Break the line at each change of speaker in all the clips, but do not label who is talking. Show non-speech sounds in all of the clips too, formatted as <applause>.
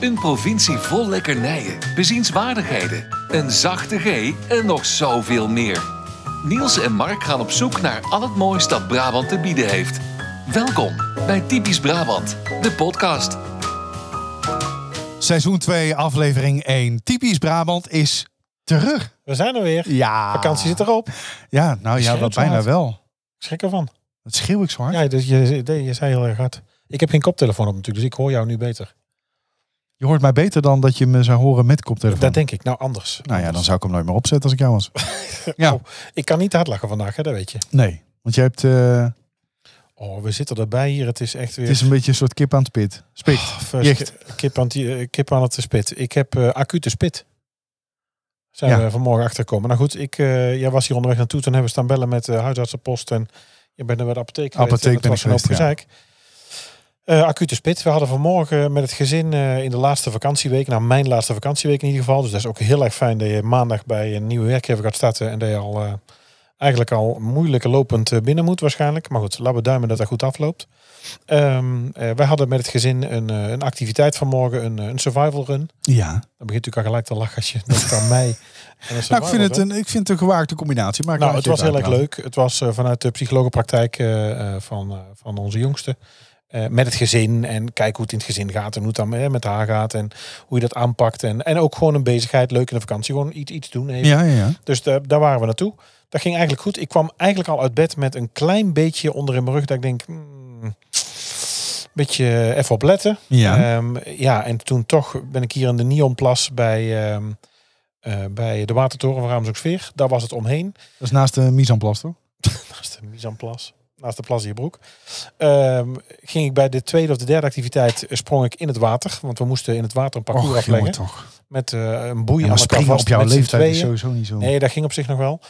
Een provincie vol lekkernijen, bezienswaardigheden, een zachte G en nog zoveel meer. Niels en Mark gaan op zoek naar al het moois dat Brabant te bieden heeft. Welkom bij Typisch Brabant, de podcast.
Seizoen 2, aflevering 1. Typisch Brabant is terug.
We zijn er weer.
Ja.
Vakantie zit erop.
Ja, nou ja,
Schreeuwt
dat
zo
bijna
hard.
wel.
Ik schrik ervan.
Dat schreeuw ik zo hard.
Ja, dus je, nee, je zei heel erg hard. Ik heb geen koptelefoon op natuurlijk, dus ik hoor jou nu beter.
Je hoort mij beter dan dat je me zou horen met koptelefoon.
Dat denk ik. Nou, anders.
Nou ja, dan zou ik hem nooit meer opzetten als ik jou
<laughs>
was. ja,
Oh. Ik kan niet hard lachen vandaag, hè, dat weet je.
nee. Want jij hebt, eh,
Oh, we zitten erbij hier. Het is echt weer...
het is een beetje een soort kip aan het spit. Spit.
Oh, first
Jicht.
kip, aan die, eh, kip aan het spit. Ik heb eh, acute spit. Zijn
Ja.
we vanmorgen achterkomen. Nou goed, ik, eh, jij was hier onderweg naartoe. Toen hebben we staan bellen met de huisartsenpost. En je bent er bij de apotheek geweest.
Apotheek
en dat
ben ik
was een hoop
geweest,
gezeik. Eh, acute spit. We hadden vanmorgen met het gezin eh, in de laatste vakantieweek. Nou, mijn laatste vakantieweek in ieder geval. Dus dat is ook heel erg fijn dat je maandag bij een nieuwe werkgever gaat starten. En dat je al... eh, eigenlijk al moeilijk lopend eh, binnen moet waarschijnlijk. Maar goed, laten we duimen dat dat goed afloopt. Ehm, eh, wij hadden met het gezin een, eh, een activiteit vanmorgen, een, eh, een survival run.
Ja.
Dan begint natuurlijk al gelijk te lachen als je
<laughs>
denkt aan mij. En een survival
Nou, ik vind, het
run.
een, ik vind het een gewaagde combinatie. Maar ik
Nou,
laat je
het was
even
heel erg
uitpraten.
leuk. Het was eh, vanuit de psychologenpraktijk eh, eh, van, eh, van onze jongste. Eh, met het gezin en kijk hoe het in het gezin gaat en hoe het dan eh, met haar gaat en hoe je dat aanpakt. En, en ook gewoon een bezigheid, leuk in de vakantie, gewoon iets, iets doen. Even.
Ja, ja, ja.
Dus da- daar waren we naartoe. Dat ging eigenlijk goed. Ik kwam eigenlijk al uit bed met een klein beetje onder in mijn rug. Dat ik denk, hmm, beetje even op letten.
Ja.
Ehm, ja, en toen toch ben ik hier in de Nionplas bij, ehm, eh, bij de Watertoren van Raamshoeksveer. Daar was het omheen.
Dat is naast de mise en place, toch?
Naast de Mizanplas. Naast de plas in je broek. Ehm, ging ik bij de tweede of de derde activiteit eh, sprong ik in het water. Want we moesten in het water een parcours
Och, jongen,
afleggen.
toch.
Met eh, een boei
Ja,
aan
maar
elkaar
springen op
vast,
jouw
met z'n
leeftijd is
tweeën.
sowieso niet zo.
Nee, dat ging op zich nog wel.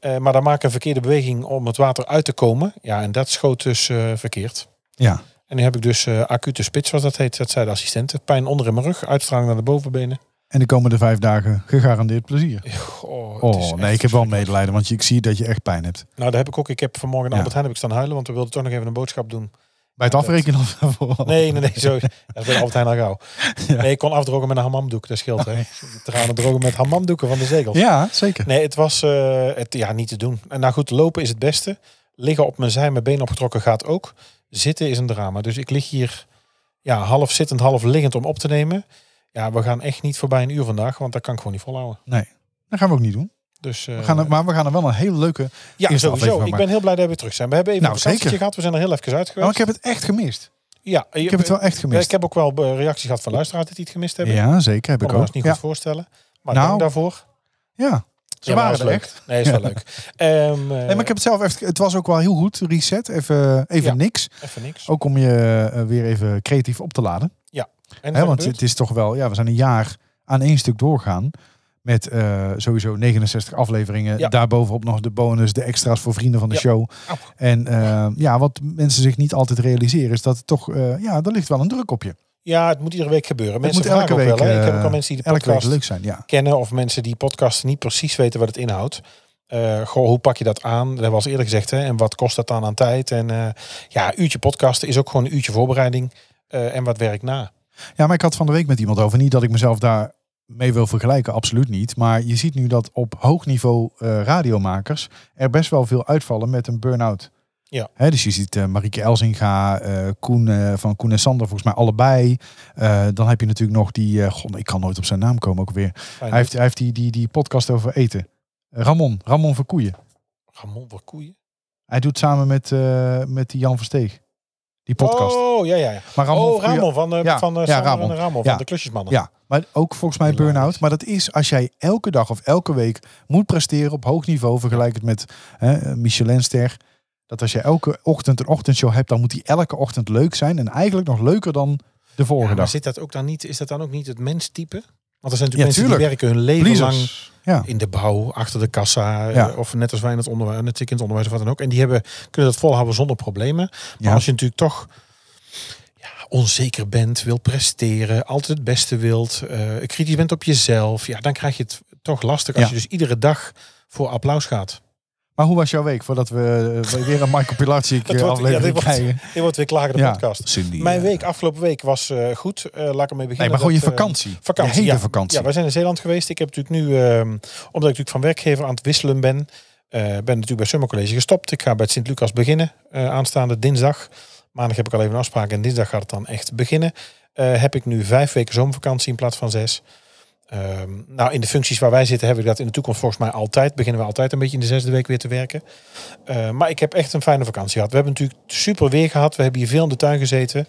Eh, maar dan maak ik een verkeerde beweging om het water uit te komen. Ja, en dat schoot dus eh, verkeerd.
Ja.
En nu heb ik dus eh, acute spits, zoals dat heet. Dat zei de assistent. Pijn onder in mijn rug, uitstraling naar de bovenbenen.
En de komende vijf dagen gegarandeerd plezier.
Goh, het is
Oh,
echt-
nee, ik heb wel medelijden, want je- ik zie dat je echt pijn hebt.
Nou, daar heb ik ook. Ik heb
Ja.
vanmorgen in Albert Heijn heb ik staan huilen, want we wilden toch nog even een boodschap doen.
Bij het
Ja,
afrekenen of vooral?
Nee, nee, nee,
<laughs>
zo. Dat is bij de Albert Heijn al gauw. Nee, ik kon afdrogen met een hamamdoek. Dat scheelt, hè. Tranen drogen met hamamdoeken van de zegels.
Ja, zeker.
Nee, het was eh, het, ja, niet te doen. En nou goed, lopen is het beste. Liggen op mijn zij, mijn been opgetrokken gaat ook. Zitten is een drama. Dus ik lig hier ja, half zittend, half liggend om op te nemen. Ja, we gaan echt niet voorbij een uur vandaag, want dat kan ik gewoon niet volhouden.
Dat gaan we ook niet doen.
Dus, eh,
We gaan er, maar we gaan er wel een hele leuke...
ja,
eerste aflevering
sowieso.
van
Ik
maken.
ben heel blij dat we terug zijn. We hebben even
Nou,
een vakantietje
zeker.
gehad. We zijn er heel even uit
Oh,
geweest.
ik heb het echt gemist.
ja,
Ik heb het wel echt gemist.
Ik heb ook wel eh, reacties gehad van luisteraars die het gemist hebben.
Ja, zeker. Heb
ik
ik
kan me
ook.
dat niet
ja.
goed voorstellen. Maar
Nou,
dank daarvoor.
ja. Ze
Ja, maar
waren
was
er
leuk.
echt.
Nee,
<laughs>
is wel leuk. Ehm, eh,
Nee, maar ik heb het zelf echt... Het was ook wel heel goed. Reset. Even, even
Ja.
niks.
Even niks.
Ook om je eh, weer even creatief op te laden.
En
Hè,
wat
want
gebeurt?
het is toch wel... Ja, we zijn een jaar aan één stuk doorgaan. Met eh, sowieso 69 afleveringen.
Ja.
Daarbovenop nog de bonus, de extra's voor vrienden van de
Ja.
show.
Au.
En eh, ja, wat mensen zich niet altijd realiseren is dat het toch... eh, ja, er ligt wel een druk op je.
Ja, het moet iedere week gebeuren. Mensen
moet
vragen
elke
ook wel.
week,
Hè? Ik heb ook al
eh,
mensen die de
Elke week
podcast
leuk zijn, ja.
kennen of mensen die podcast niet precies weten wat het inhoudt. Eh, goh, hoe pak je dat aan? Dat was eerder gezegd. Hè? En wat kost dat dan aan tijd? En eh, ja, uurtje podcasten is ook gewoon een uurtje voorbereiding. eh, en wat werk na.
Ja, maar ik had van de week met iemand over. Niet dat ik mezelf daar mee wil vergelijken, absoluut niet. Maar je ziet nu dat op hoog niveau eh, radiomakers er best wel veel uitvallen met een burn-out.
Ja.
Hè, dus je ziet eh Marieke Elzinga, eh, Koen, eh, van Koen en Sander volgens mij allebei. Eh, dan heb je natuurlijk nog die, eh, god, ik kan nooit op zijn naam komen ook weer.
Fijn,
Hij heeft, hij heeft die, die, die podcast over eten. Ramon, Ramon Verkoeien.
Ramon voor koeien.
Hij doet samen met, eh, met die Jan Versteeg. Die podcast.
Oh, ja, ja. ja.
maar Ramon
oh,
Verkoeien-
Ramon van, eh
Ja,
van eh,
ja,
Sander
Ramon.
en Ramon
Ja.
van de Klusjesmannen.
Ja, maar ook volgens mij
Hilarisch.
burn-out. Maar dat is als jij elke dag of elke week moet presteren op hoog niveau, vergelijk het met hè, Michelinster. Dat als je elke ochtend een ochtendshow hebt, dan moet die elke ochtend leuk zijn. En eigenlijk nog leuker dan de
Ja,
vorige
maar
dag.
zit dat ook dan niet, is dat dan ook niet het menstype? Want er zijn natuurlijk
Ja,
mensen die
tuurlijk.
werken hun leven lang
Pleasers. Ja.
in de bouw, achter de kassa, eh,
Ja.
of net als wij in het onderwijs, natuurlijk in het onderwijs of wat dan ook. En die hebben, kunnen dat volhouden zonder problemen. Maar
Ja.
als je natuurlijk toch ja, onzeker bent, wil presteren, altijd het beste wilt, eh, kritisch bent op jezelf, ja, dan krijg je het toch lastig als
Ja.
je dus iedere dag voor applaus gaat.
Maar hoe was jouw week voordat we eh, weer een Michael Pilatschik
<laughs> Dat
eh,
wordt- ja, dit
aflevering
wordt- <laughs>
krijgen?
Dit wordt weer klagen de podcast.
Cindy,
Mijn
eh,
week, afgelopen week was eh, goed. Eh, laat ik ermee beginnen.
Nee, maar gewoon je
Dat, eh,
vakantie.
vakantie.
Je hele
ja.
vakantie.
Ja, wij zijn in Zeeland geweest. Ik heb natuurlijk nu, ehm, omdat ik natuurlijk van werkgever aan het wisselen ben, eh, ben natuurlijk bij Summer College gestopt. Ik ga bij het Sint-Lucas beginnen eh, aanstaande dinsdag. Maandag heb ik al even een afspraak en dinsdag gaat het dan echt beginnen. Eh, heb ik nu vijf weken zomervakantie in plaats van zes. Ehm, nou, in de functies waar wij zitten heb ik dat in de toekomst volgens mij altijd. Beginnen we altijd een beetje in de zesde week weer te werken. Eh, maar ik heb echt een fijne vakantie gehad. We hebben natuurlijk super weer gehad. We hebben hier veel in de tuin gezeten. We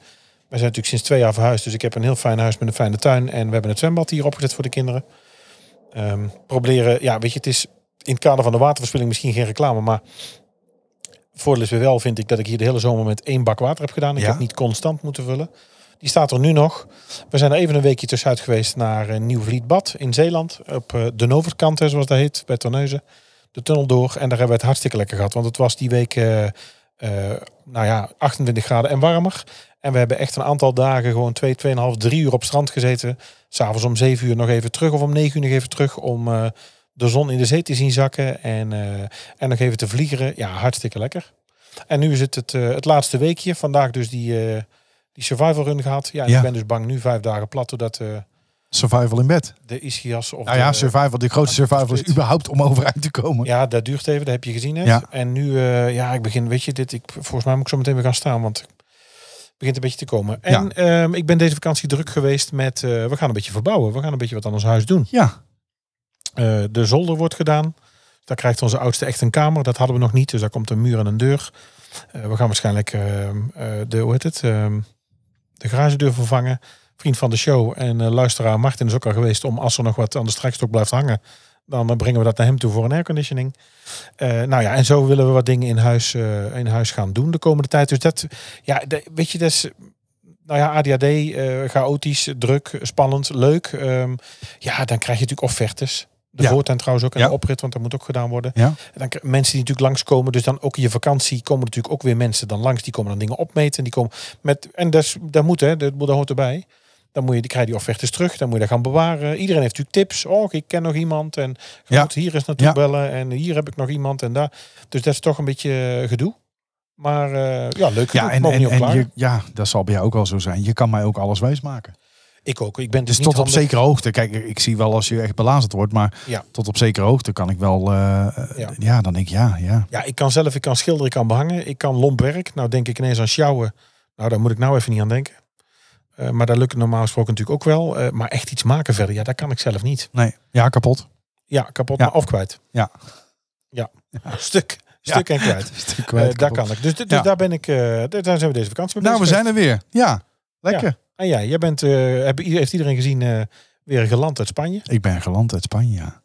zijn natuurlijk sinds twee jaar verhuisd. Dus ik heb een heel fijn huis met een fijne tuin. En we hebben het zwembad hier opgezet voor de kinderen. Ehm, proberen, ja, weet je, het is in het kader van de waterverspilling misschien geen reclame. Maar voordeel is weer wel, vind ik, dat ik hier de hele zomer met één bak water heb gedaan. Ik
Ja?
heb niet constant moeten vullen. Die staat er nu nog. We zijn er even een weekje tussenuit geweest naar eh, Nieuw-Vlietbad in Zeeland. Op eh, de Noverkant, hè, zoals dat heet, bij Terneuzen. De tunnel door. En daar hebben we het hartstikke lekker gehad. Want het was die week, eh, eh, nou ja, 28 graden en warmer. En we hebben echt een aantal dagen gewoon twee, tweeënhalf, drie uur op strand gezeten. S'avonds om zeven uur nog even terug of om negen uur nog even terug om eh, de zon in de zee te zien zakken en, eh, en nog even te vliegeren. Ja, hartstikke lekker. En nu is het het, eh, het laatste weekje. Vandaag dus die, eh, die survival run gehad. Ja, en
Ja.
ik ben dus bang nu vijf dagen plat doordat eh,
Survival in bed.
de ischias of
Nou ja,
de,
survival. De grootste survival is überhaupt om overeind te komen.
ja, dat duurt even, dat heb je gezien net.
Ja.
En nu, eh, ja, ik begin, weet je, dit, ik, volgens mij moet ik zo meteen weer gaan staan, want het begint een beetje te komen. En
Ja.
ehm, ik ben deze vakantie druk geweest met, eh, we gaan een beetje verbouwen, we gaan een beetje wat aan ons huis doen.
Ja,
Eh, de zolder wordt gedaan, daar krijgt onze oudste echt een kamer, dat hadden we nog niet, dus daar komt een muur en een deur. Eh, we gaan waarschijnlijk ehm, eh, de, hoe heet het, ehm, de garagedeur vervangen. Vriend van de show en eh, luisteraar Martin is ook al geweest om als er nog wat aan de strijkstok blijft hangen, dan eh, brengen we dat naar hem toe voor een airconditioning. Eh, nou ja, en zo willen we wat dingen in huis, eh, in huis gaan doen de komende tijd. Dus dat, ja, de- weet je, dat is, nou ja, ADHD, eh, chaotisch, druk, spannend, leuk. Ehm, ja, dan krijg je natuurlijk offertes. De
Ja.
voortuin trouwens ook en
Ja.
de oprit, want dat moet ook gedaan worden.
Ja.
En dan k- mensen die natuurlijk langskomen, dus dan ook in je vakantie komen natuurlijk ook weer mensen dan langs. Die komen dan dingen opmeten. Die komen met, en dat, is- dat moet hè, dat, moet- dat hoort erbij. Dan moet je, die krijg je die offertes terug. Dan moet je dat gaan bewaren. Iedereen heeft natuurlijk tips. Oh, ik ken nog iemand. En je
Ja.
moet hier eens naartoe
Ja.
bellen. En hier heb ik nog iemand. En daar. Dus dat is toch een beetje eh, gedoe. Maar eh, ja, leuk.
ja
gedoe.
en,
Mogen
en,
niet
en
opklagen.
je, ja, dat zal bij jou ook wel zo zijn. Je kan mij ook alles wijsmaken.
Ik ook. Ik ben dus,
Dus
niet
tot op
handig.
zekere hoogte. Kijk, ik zie wel als je echt belazerd wordt, maar
Ja.
tot op zekere hoogte kan ik wel. eh, eh,
Ja.
ja. dan denk ik ja, ja.
Ja, ik kan zelf, ik kan schilderen, ik kan behangen, ik kan lomp werk. Nou denk ik ineens aan sjouwen. Nou, daar moet ik nou even niet aan denken. Eh, maar daar lukt het normaal gesproken natuurlijk ook wel. Eh, maar echt iets maken verder, ja, dat kan ik zelf niet.
Nee, ja, kapot.
Ja, kapot,
Ja.
maar of kwijt.
Ja.
Ja, <laughs> stuk. Stuk en kwijt.
Stuk
Eh
<laughs> kwijt,
daar
kapot.
kan ik. Dus, dus
Ja.
daar ben ik, eh, daar daar zijn we deze vakantie mee
Nou, we
bezig
zijn er weer. Ja, lekker.
geweest. En jij, jij bent, eh, heb, heeft iedereen gezien, eh, weer geland uit Spanje.
Ik ben geland uit Spanje. ja.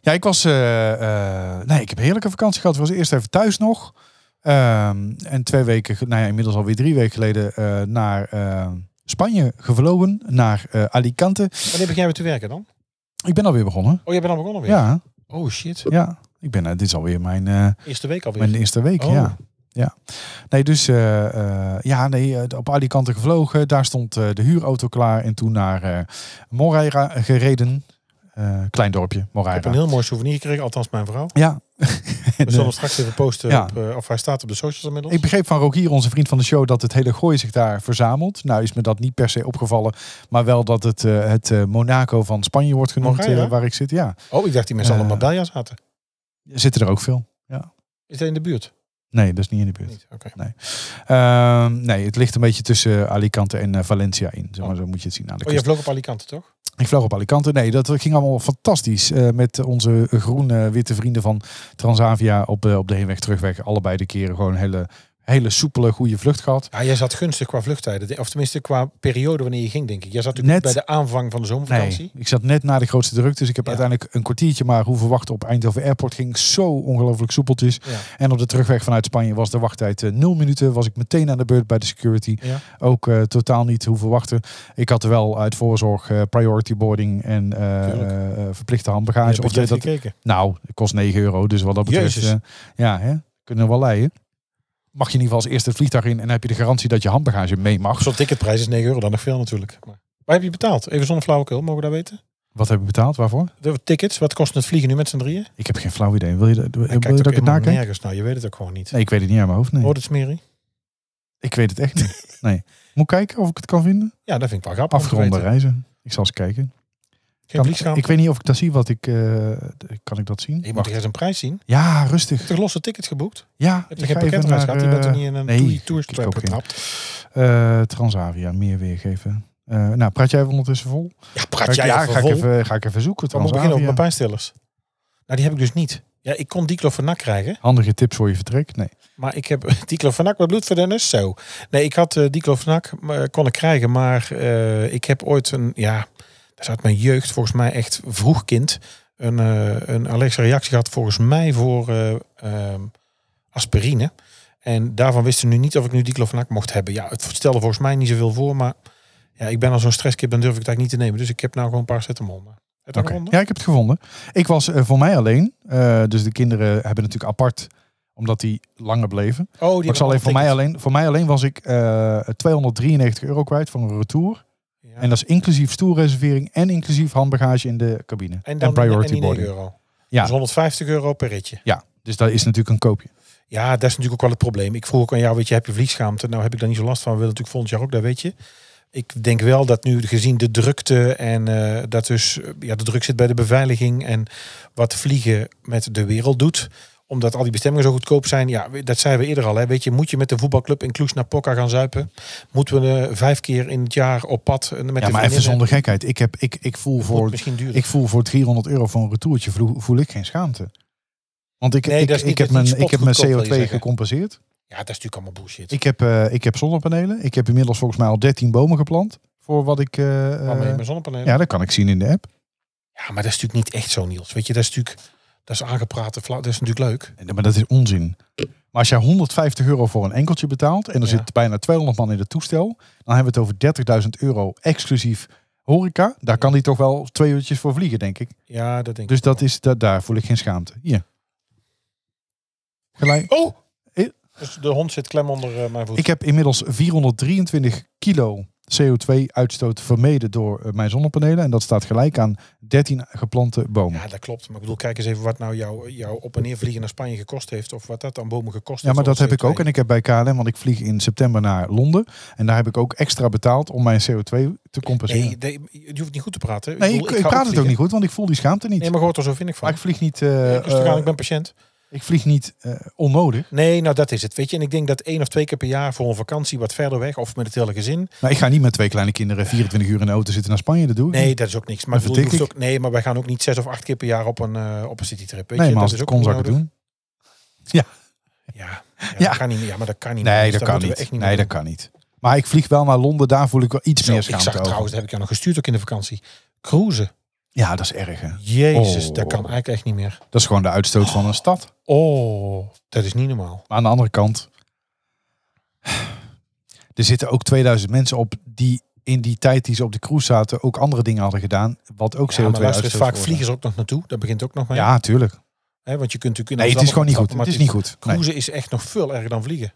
Ja, ik was. eh, eh, nee, ik heb een heerlijke vakantie gehad. Ik was eerst even thuis nog. Ehm, en twee weken, ge- nou ja, inmiddels alweer drie weken geleden eh, naar eh, Spanje gevlogen, naar eh, Alicante.
Wanneer begin jij weer te werken dan?
Ik ben alweer begonnen.
Oh, jij bent al begonnen weer?
Ja,
Oh shit,
ja. Ik ben, eh, dit is alweer mijn, eh,
eerste week alweer.
mijn eerste week.
Oh.
Ja. ja. Nee, dus eh, eh, ja, nee, eh, op Alicante gevlogen. Daar stond eh, de huurauto klaar. En toen naar eh Moreira gereden. Eh, klein dorpje,
Ik heb een
Moreira.
heel mooi souvenir gekregen, althans mijn vrouw. <laughs>
Ja.
We zullen hem straks even posten,
Ja.
op, eh, of hij staat op de socials inmiddels.
Ik begreep van Rogier, onze vriend van de show, dat het hele gooi zich daar verzamelt. Nou is me dat niet per se opgevallen, maar wel dat het, eh, het eh, Monaco van Spanje wordt genoemd,
Moreira?
eh, waar ik zit. Ja,
Oh, ik dacht die mensen
Eh.
allemaal Marbella zaten.
zitten er ook veel.
Is dat in de buurt?
Nee, dat is niet in de buurt.
Niet, oké. Oh,
Ehm, nee, het ligt een beetje tussen Alicante en eh, Valencia in. Zeg maar, Zo moet je het zien. Aan de
Oh, je
kust.
vloog op Alicante, toch?
Ik vloog op Alicante. Nee, dat ging allemaal fantastisch. eh, met onze groene, witte vrienden van Transavia op, eh, op de heenweg, terugweg. Allebei de keren gewoon een hele, hele soepele, goede vlucht gehad.
Ja, jij zat gunstig qua vluchttijden. Of tenminste qua periode wanneer je ging, denk ik. Jij zat natuurlijk
Net-
bij de aanvang van de zomervakantie.
Nee, ik zat net na de grootste druk. Dus ik heb
Ja.
uiteindelijk een kwartiertje maar hoeven wachten op Eindhoven Airport. Ging zo ongelooflijk soepeltjes.
Ja.
En op de terugweg vanuit Spanje was de wachttijd eh, nul minuten. Was ik meteen aan de beurt bij de security.
Ja.
Ook eh, totaal niet hoeven wachten. Ik had er wel uit voorzorg eh, priority boarding en eh,
Tuurlijk.
eh, verplichte
Je hebt
handbagage. Of
budget
dat,
gekeken.
nou, het kost 9 euro. Dus wat dat betreft,
Jezus.
eh, ja, hè, kunnen we wel leien. Mag je in ieder geval als eerste het vliegtuig in en heb je de garantie dat je handbagage mee mag.
Zo'n ticketprijs is 9 euro, dan nog veel natuurlijk. Maar waar heb je betaald? Even zonder flauwekul, mogen we dat weten?
Wat heb je betaald? Waarvoor?
De tickets, wat kost het vliegen nu met z'n drieën?
Ik heb geen flauw idee. Wil je, dat- wil
Hij
je
kijkt
dat
ook
ik het
helemaal
nakijk?
nergens naar. Je weet het ook gewoon niet.
Nee, ik weet het niet uit mijn hoofd. Nee.
Hoort het smeren?
Ik weet het echt niet. Nee. Moet ik kijken of ik het kan vinden?
Ja, dat vind ik wel grappig. om te
Afgeronde
weten.
reizen. Ik zal eens kijken.
Geen
Kan-
vliegschaam.
ik weet niet of ik dat zie. Wat ik, eh, d- kan ik dat zien?
Je moet
Wacht.
toch eens een prijs zien? Je
Ja, rustig.
hebt toch losse tickets geboekt? Je
Ja,
hebt
ik
toch geen
ga even
pakketreis
naar,
gehad? Je bent er
eh,
niet in een
nee,
nee, tourstrap
ook geen.
getrapt?
eh, Transavia, meer weergeven. Eh nou, praat jij even ondertussen vol?
Ja,
Ga
praat
ik-
jij
ja,
even
ga
vol.
ik even, ga ik even zoeken.
Dan moet ik beginnen
Transavia.
ook met pijnstillers. Nou, die heb ik dus niet. Ja, ik kon diclofenac krijgen,
Handige tips voor je vertrek. Nee.
maar ik heb <laughs> diclofenac met bloed voor Dennis. Zo. Nee, ik had eh diclofenac, eh, kon ik krijgen, maar eh, ik heb ooit een, ja, dat is uit mijn jeugd, volgens mij echt vroeg kind, een, eh, een allergische reactie gehad, volgens mij voor eh, ehm, aspirine. En daarvan wisten nu niet of ik nu diclofenac mocht hebben. Ja, het stelde volgens mij niet zoveel voor, maar ja, ik ben al zo'n stresskip, dan durf ik het eigenlijk niet te nemen. Dus ik heb nou gewoon paracetamol. Maar Het
Oké. Ja, ik heb het gevonden. Ik was eh, voor mij alleen. Eh, dus de kinderen hebben natuurlijk apart, omdat die langer bleven.
Oh, die
Maar ik zal even voor mij alleen. Voor mij alleen was ik eh 293 euro kwijt voor een retour. En dat is inclusief stoelreservering en inclusief handbagage in de cabine.
en dan
priority
en die 9
boarding.
euro.
Ja.
Ja. Dus 150 euro per ritje.
Ja, dus dat is natuurlijk een koopje.
Ja, dat is natuurlijk ook wel het probleem. Ik vroeg ook aan jou, weet je, heb je vliegschaamte? Nou heb ik daar niet zo last van. We willen natuurlijk volgend jaar ook, dat weet je. Ik denk wel dat nu gezien de drukte en eh, dat dus eh, ja, de druk zit bij de beveiliging en wat vliegen met de wereld doet omdat al die bestemmingen zo goedkoop zijn. Ja, we- dat zeiden we eerder al. Hè. Weet je, moet je met de voetbalclub in Cluj naar Pokka gaan zuipen? Moeten we eh, vijf keer in het jaar op pad? eh, Met de
ja, maar
vriendinnen?
even zonder gekheid. Ik, heb, ik, ik, voel
Wordt
voor,
misschien duurder.
ik voel voor 300 euro voor een retourtje voel, voel ik geen schaamte. Want ik,
Nee,
ik,
dat is
ik,
niet-
heb,
dat is
mijn,
niet
ik heb mijn
spotgoedkoop, wil
CO2
je zeggen.
gecompenseerd.
ja, dat is natuurlijk allemaal bullshit.
Ik heb, eh, ik heb zonnepanelen. Ik heb inmiddels volgens mij al 13 bomen geplant. Voor wat ik. eh, eh,
Waarom heb je mijn zonnepanelen?
ja, dat kan ik zien in de app.
Ja, maar dat is natuurlijk niet echt zo, Niels. Weet je, dat is natuurlijk dat is aangepraat en flauw. Dat is natuurlijk leuk.
Nee, Maar dat is onzin. Maar als jij 150 euro voor een enkeltje betaalt en er
Ja.
zit bijna 200 man in het toestel, dan hebben we het over 30.000 euro exclusief horeca. Daar kan die toch wel twee uurtjes voor vliegen, denk ik.
Ja, dat denk
Dus
ik.
dat is, dat, daar voel ik geen schaamte. Hier. Gelijk.
wel. Oh!
Eh?
Dus de hond zit klem onder eh, mijn voet.
Ik heb inmiddels 423 kilo CO2-uitstoot vermeden door eh, mijn zonnepanelen. En dat staat gelijk aan 13 geplante bomen.
Ja, dat klopt. Maar ik bedoel, kijk eens even wat nou jouw jouw op- en neervliegen naar Spanje gekost heeft. Of wat dat aan bomen gekost
Ja,
heeft.
maar dat
voor
heb ik
CO2.
ook. En ik heb bij KLM, want ik vlieg in september naar Londen. En daar heb ik ook extra betaald om mijn CO2 te compenseren.
Nee,
Nee,
nee, je hoeft niet goed te praten.
ik,
bedoel,
ik
ga
praat het ook
vliegen.
niet goed, want ik voel die schaamte niet.
Nee, maar goed, zo vind ik van.
maar ik vlieg niet, eh,
Rustig aan,
eh,
ik ben patiënt.
ik vlieg niet eh, onnodig.
Nee, nou dat is het. Weet je, en ik denk dat één of twee keer per jaar voor een vakantie wat verder weg of met het hele gezin.
Maar ik ga niet met twee kleine kinderen 24 uur in de auto zitten naar Spanje. Dat doe ik
Nee,
niet.
dat is ook niks. Maar ik
Dat
bedoel, je
vertik
hoeft ook, nee, maar wij gaan ook niet zes of acht keer per jaar op een, eh, op een citytrip. Weet
nee
je?
maar als
dat is
het
ook
kon zou ik
onnodig.
het doen.
Ja, ja,
Ja.
Dat kan niet meer. Ja, maar dat kan niet meer.
Nee,
Dus
dat kan
moeten we
niet.
echt niet
Nee,
meer
dat kan niet. Maar ik vlieg wel naar Londen, daar voel ik wel iets
doen.
meer
Zo, Ik
schaamte
zag
over.
trouwens, dat heb ik jou nog gestuurd ook in de vakantie. Cruisen.
Ja, dat is erg. Hè?
Jezus,
Oh.
dat kan eigenlijk echt niet meer.
Dat is gewoon de uitstoot van een stad.
Oh, dat is niet normaal.
Maar aan de andere kant, er zitten ook 2000 mensen op die in die tijd die ze op de cruise zaten ook andere dingen hadden gedaan, wat ook CO2
Ja, maar luister eens,
uitstoot
vaak
veroorzaakt.
vliegen ze ook nog naartoe. Dat begint ook nog mee.
Ja, tuurlijk.
Hè, want je kunt natuurlijk... in
Nee, het is
Amsterdam
gewoon niet goed.
opstappen,
Het is
maar
niet goed. Nee.
Cruisen is echt nog veel erger dan vliegen.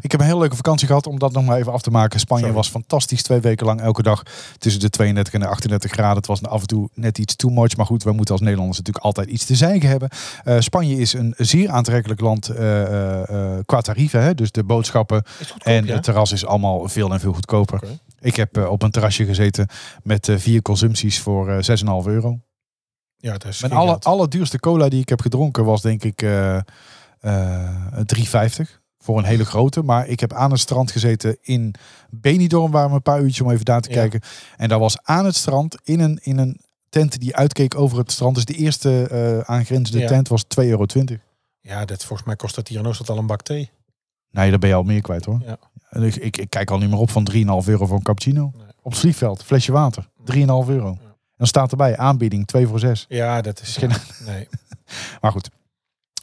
Ik heb een hele leuke vakantie gehad om dat nog maar even af te maken. Spanje
Sorry.
was fantastisch. Twee weken lang elke dag tussen de 32 en de 38 graden. Het was af en toe net iets too much. Maar goed, wij moeten als Nederlanders natuurlijk altijd iets te zeiken hebben. Eh, Spanje is een zeer aantrekkelijk land eh, eh, eh, qua tarieven. Hè? Dus de boodschappen
Is het goedkoop,
en
ja?
het terras is allemaal veel en veel goedkoper.
Oké.
Ik heb eh, op een terrasje gezeten met eh, vier consumpties voor eh, 6,5 euro.
Ja, dat is
Mijn
geen
alle,
geld.
allerduurste cola die ik heb gedronken was denk ik eh, eh, 3,50 voor een hele grote. Maar ik heb aan het strand gezeten in Benidorm, waren we een paar uurtjes om even daar te
Ja.
kijken. En daar was aan het strand in een, in een tent die uitkeek over het strand. Dus de eerste eh, aangrenzende
Ja.
tent was 2,20 euro.
Ja, dat, volgens mij kost dat hier in Oostenrijk al een bak thee.
Nee, daar ben je al meer kwijt hoor.
Ja.
En Ik, ik, ik kijk al niet meer op van 3,5 euro voor een cappuccino.
Nee.
Op het vliegveld, flesje water, 3,5 euro.
Ja.
En dan staat erbij aanbieding 2 voor 6.
Ja, dat is...
Misschien- <laughs>
nee.
Maar goed.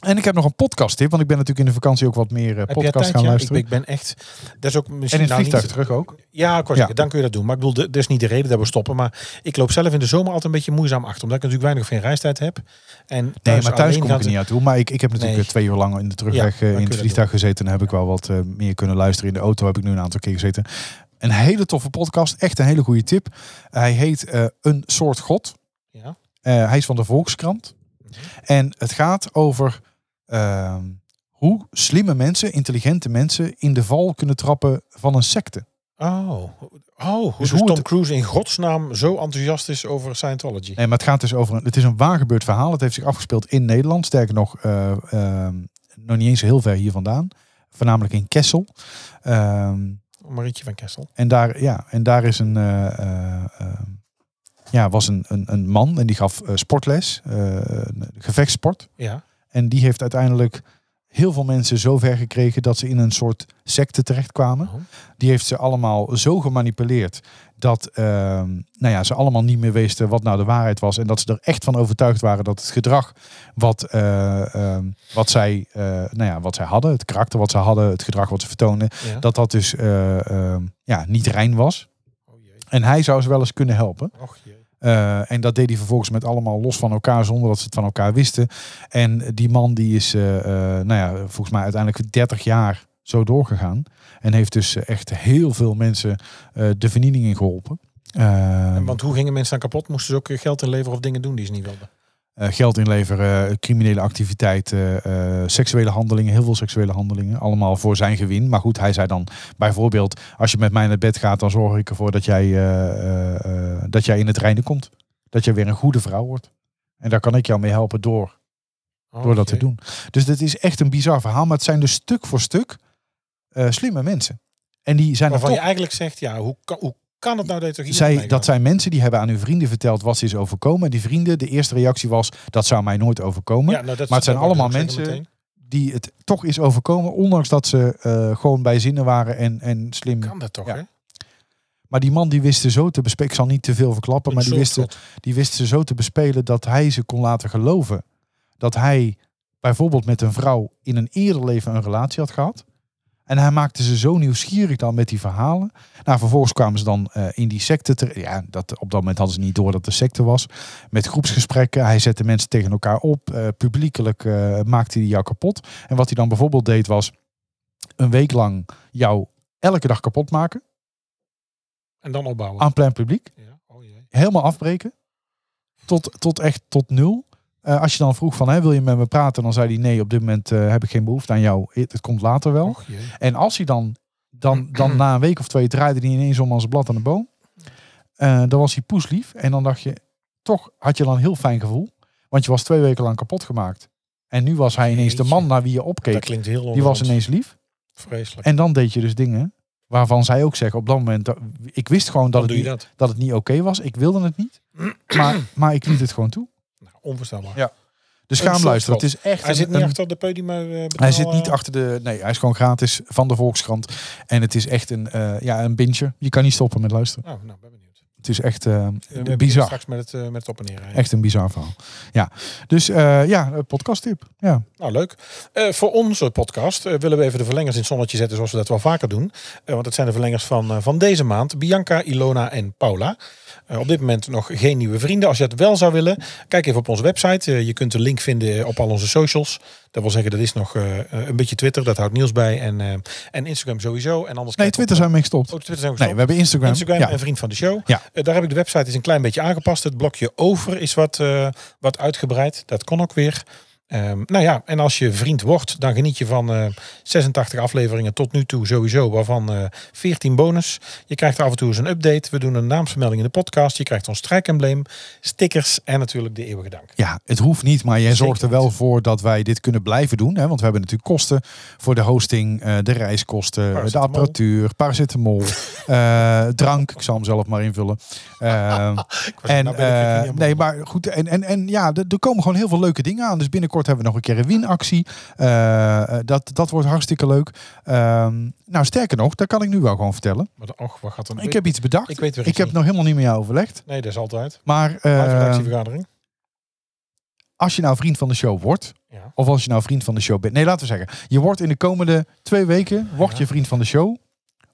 En ik heb nog een podcast tip, want ik ben natuurlijk in de vakantie ook wat meer eh
Heb jij tijd,
podcast gaan
ja? Ik,
luisteren.
ik ben echt... Dat is ook
en
misschien
in het
nou niet-
vliegtuig terug ook.
Ja, ik wou
Ja.
zeggen, dan kun je dat doen. Maar ik bedoel, dat is niet de reden dat we stoppen. Maar ik loop zelf in de zomer altijd een beetje moeizaam achter. Omdat ik natuurlijk weinig of geen reistijd heb. En
Nee, maar thuis
alleen
kom
gaat
ik er niet aan toe. Maar ik, ik heb natuurlijk
Nee.
eh, twee uur lang in de terugweg
Ja,
eh,
dan
in
kun
het
je dat
vliegtuig gezeten. En heb ik wel wat eh, meer kunnen luisteren. In de auto heb ik nu een aantal keer gezeten. Een hele toffe podcast. Echt een hele goede tip. Hij heet eh, Een soort God.
Ja.
Eh, hij is van de Volkskrant. En het gaat over ehm, hoe slimme mensen, intelligente mensen, in de val kunnen trappen van een secte.
Oh. Oh, hoe
Dus
dus
hoe
Tom
het-
Cruise in godsnaam zo enthousiast is over Scientology.
Nee, maar het gaat dus over een, het is een waargebeurd verhaal. Het heeft zich afgespeeld in Nederland. Sterker nog, eh, ehm, nog niet eens heel ver hier vandaan. Voornamelijk in Kessel. Ehm,
Marietje van Kessel.
En daar, ja, en daar is een, eh, eh, eh, ja, was een, een, een man en die gaf eh, sportles, eh, een gevechtsport.
Ja.
En die heeft uiteindelijk heel veel mensen zo ver gekregen dat ze in een soort secte terechtkwamen.
Oh.
Die heeft ze allemaal zo gemanipuleerd dat ehm, nou ja, ze allemaal niet meer wisten wat nou de waarheid was. En dat ze er echt van overtuigd waren dat het gedrag wat, eh, ehm, wat, zij, eh, nou ja, wat zij hadden, het karakter wat ze hadden, het gedrag wat ze vertoonden,
Ja.
dat dat dus eh, ehm, ja, niet rein was.
Oh jee.
En hij zou ze wel eens kunnen helpen.
Och jee.
Eh, en dat deed hij vervolgens met allemaal los van elkaar, zonder dat ze het van elkaar wisten. En die man die is, eh, eh, nou ja, volgens mij uiteindelijk 30 jaar zo doorgegaan. En heeft dus echt heel veel mensen eh, de vernieling in geholpen. Eh,
En want hoe gingen mensen dan kapot? Moesten ze ook eh, geld inleveren of dingen doen die ze niet wilden?
eh, geld inleveren, eh, criminele activiteiten, eh, seksuele handelingen, heel veel seksuele handelingen. Allemaal voor zijn gewin. Maar goed, hij zei dan bijvoorbeeld, als je met mij naar bed gaat, dan zorg ik ervoor dat jij, eh, eh, eh, dat jij in het reine komt. Dat jij weer een goede vrouw wordt. En daar kan ik jou mee helpen door,
Oh,
door dat te
jee.
doen. Dus dit is echt een bizar verhaal. Maar het zijn dus stuk voor stuk eh, slimme mensen. En die zijn er
Waarvan
toch
je eigenlijk zegt, ja, hoe kan, hoe kan het nou dat je toch iemand
zij,
meegaat?
dat zijn mensen die hebben aan hun vrienden verteld wat ze is overkomen. En die vrienden, de eerste reactie was, dat zou mij nooit overkomen.
Ja, nou, dat
maar het zijn
dat wil ik
allemaal
zeggen
mensen-
meteen.
die het toch is overkomen, ondanks dat ze eh, gewoon bij zinnen waren en, en slim.
Kan dat toch,
Ja.
hè?
Maar die man die wist ze zo te bespelen, ik zal niet te veel verklappen, maar die
Een
wist, ze-
soort
die wist ze zo te bespelen dat hij ze kon laten geloven dat hij bijvoorbeeld met een vrouw in een eerder leven een relatie had gehad. En hij maakte ze zo nieuwsgierig dan met die verhalen. Nou, vervolgens kwamen ze dan eh, in die secte terecht. Ja, dat, op dat moment hadden ze niet door dat de secte was. Met groepsgesprekken. Hij zette mensen tegen elkaar op. eh, publiekelijk eh, maakte hij jou kapot. En wat hij dan bijvoorbeeld deed was... een week lang jou elke dag kapot maken.
En dan opbouwen.
Aan plein publiek
Ja. Oh, jee.
helemaal afbreken. Tot, tot echt tot nul. Eh, als je dan vroeg van, hè, wil je met me praten? Dan zei hij, nee, op dit moment eh, heb ik geen behoefte aan jou. Het, het komt later wel.
Och jee.
En als hij dan, dan, dan na een week of twee draaide hij ineens om als een blad aan de boom. Eh, dan was hij poeslief. En dan dacht je, toch had je dan een heel fijn gevoel. Want je was twee weken lang kapot gemaakt. En nu was hij ineens de man
Jeetje.
naar wie je
Dat
opkeek.
klinkt heel
Die was
onderhand.
ineens lief.
Vreselijk.
En dan deed je dus dingen waarvan zij ook zeggen op dat moment. dat- ik wist gewoon dat
Dan
het
doe je
niet,
dat.
dat het niet oké was. Ik wilde het niet. Maar, maar ik liet het gewoon toe.
Nou, onvoorstelbaar.
Ja. Dus
Een
ga hem
soort
luisteren. Het is echt
Hij
een-
zit niet
een-
achter de podium. eh,
hij zit niet achter de... Nee, hij is gewoon gratis van de Volkskrant. En het is echt een, eh ja, een bintje. Je kan niet stoppen met luisteren.
Nou, nou, ben benieuwd.
Het is echt eh,
We beginnen
bizar.
Straks met het, eh, met het op en neer. rijden.
Echt een bizar verhaal. Ja. Dus eh ja, een podcasttip. Ja.
Nou, leuk. Eh, voor onze podcast eh, willen we even de verlengers in het zonnetje zetten, zoals we dat wel vaker doen. Eh, want het zijn de verlengers van, eh, van deze maand. Bianca, Ilona en Paula. Eh, op dit moment nog geen nieuwe vrienden. Als je dat wel zou willen, kijk even op onze website. Eh, je kunt de link vinden op al onze socials. Dat wil zeggen, dat is nog eh, eh, een beetje Twitter. Dat houdt Niels bij. En, eh, en Instagram sowieso. En anders
Nee,
kijk op-
Twitter zijn we mee gestopt.
Oh, Twitter zijn we
Nee, we hebben Instagram.
Instagram
ja.
en vriend van de show.
Ja.
Eh, daar heb ik de website is een klein beetje aangepast. Het blokje over is wat, eh, wat uitgebreid. Dat kon ook weer. Ehm, nou ja, en als je vriend wordt, dan geniet je van eh, 86 afleveringen tot nu toe sowieso, waarvan eh 14 bonus. Je krijgt af en toe eens een update. We doen een naamsvermelding in de podcast. Je krijgt ons strijkembleem, stickers en natuurlijk de eeuwige dank.
Ja, het hoeft niet, maar jij
Zeker
zorgt er wel voor dat wij dit kunnen blijven doen. Hè? Want we hebben natuurlijk kosten voor de hosting, eh, de reiskosten, eh, de
Paracetamol.
apparatuur,
<laughs>
paracetamol, eh, drank. Ik zal hem zelf maar invullen. Ehm, en,
nou ben <laughs> ik het niet
eh,
helemaal
nee,
op.
maar goed. En, en, en ja, er er komen gewoon heel veel leuke dingen aan. Dus binnenkort hebben we nog een keer een winactie. Eh, dat, dat wordt hartstikke leuk. Ehm, nou, sterker nog, dat kan ik nu wel gewoon vertellen.
Maar de- och, wat gaat er
Ik heb iets bedacht.
Ik weet weer
Ik
iets
heb
niet.
nog helemaal niet met jou overlegd.
Nee, dat is altijd.
Maar
Live
eh,
redactievergadering.
als je nou vriend van de show wordt,
Ja.
of als je nou vriend van de show bent. Nee, laten we zeggen, je wordt in de komende twee weken word
Ja.
je vriend van de show.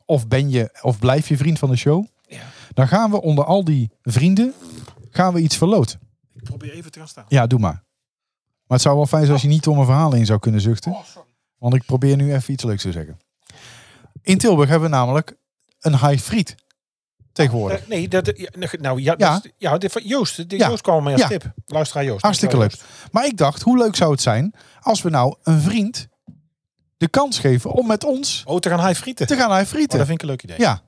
Of ben je, of blijf je vriend van de show.
Ja.
Dan gaan we onder al die vrienden, gaan we iets verloten.
Ik probeer even te gaan staan.
Ja, doe maar. Maar het zou wel fijn zijn als je niet om een verhaal in zou kunnen
Oh,
zuchten. Want ik probeer nu even iets leuks te zeggen. In Tilburg hebben we namelijk een high friet tegenwoordig.
Eh, Nee, dat, ja, nou ja,
Ja.
ja. ja dit van Joost, dit
Ja.
Joost kwam mee als
Ja.
tip. Luisteraar Joost.
Hartstikke
Luisteraar
leuk. Maar ik dacht, hoe leuk zou het zijn als we nou een vriend de kans geven om met ons
Joost. Oh, te gaan high frieten.
te gaan high
Oh, dat
frieten.
vind ik een leuk idee.
Ja.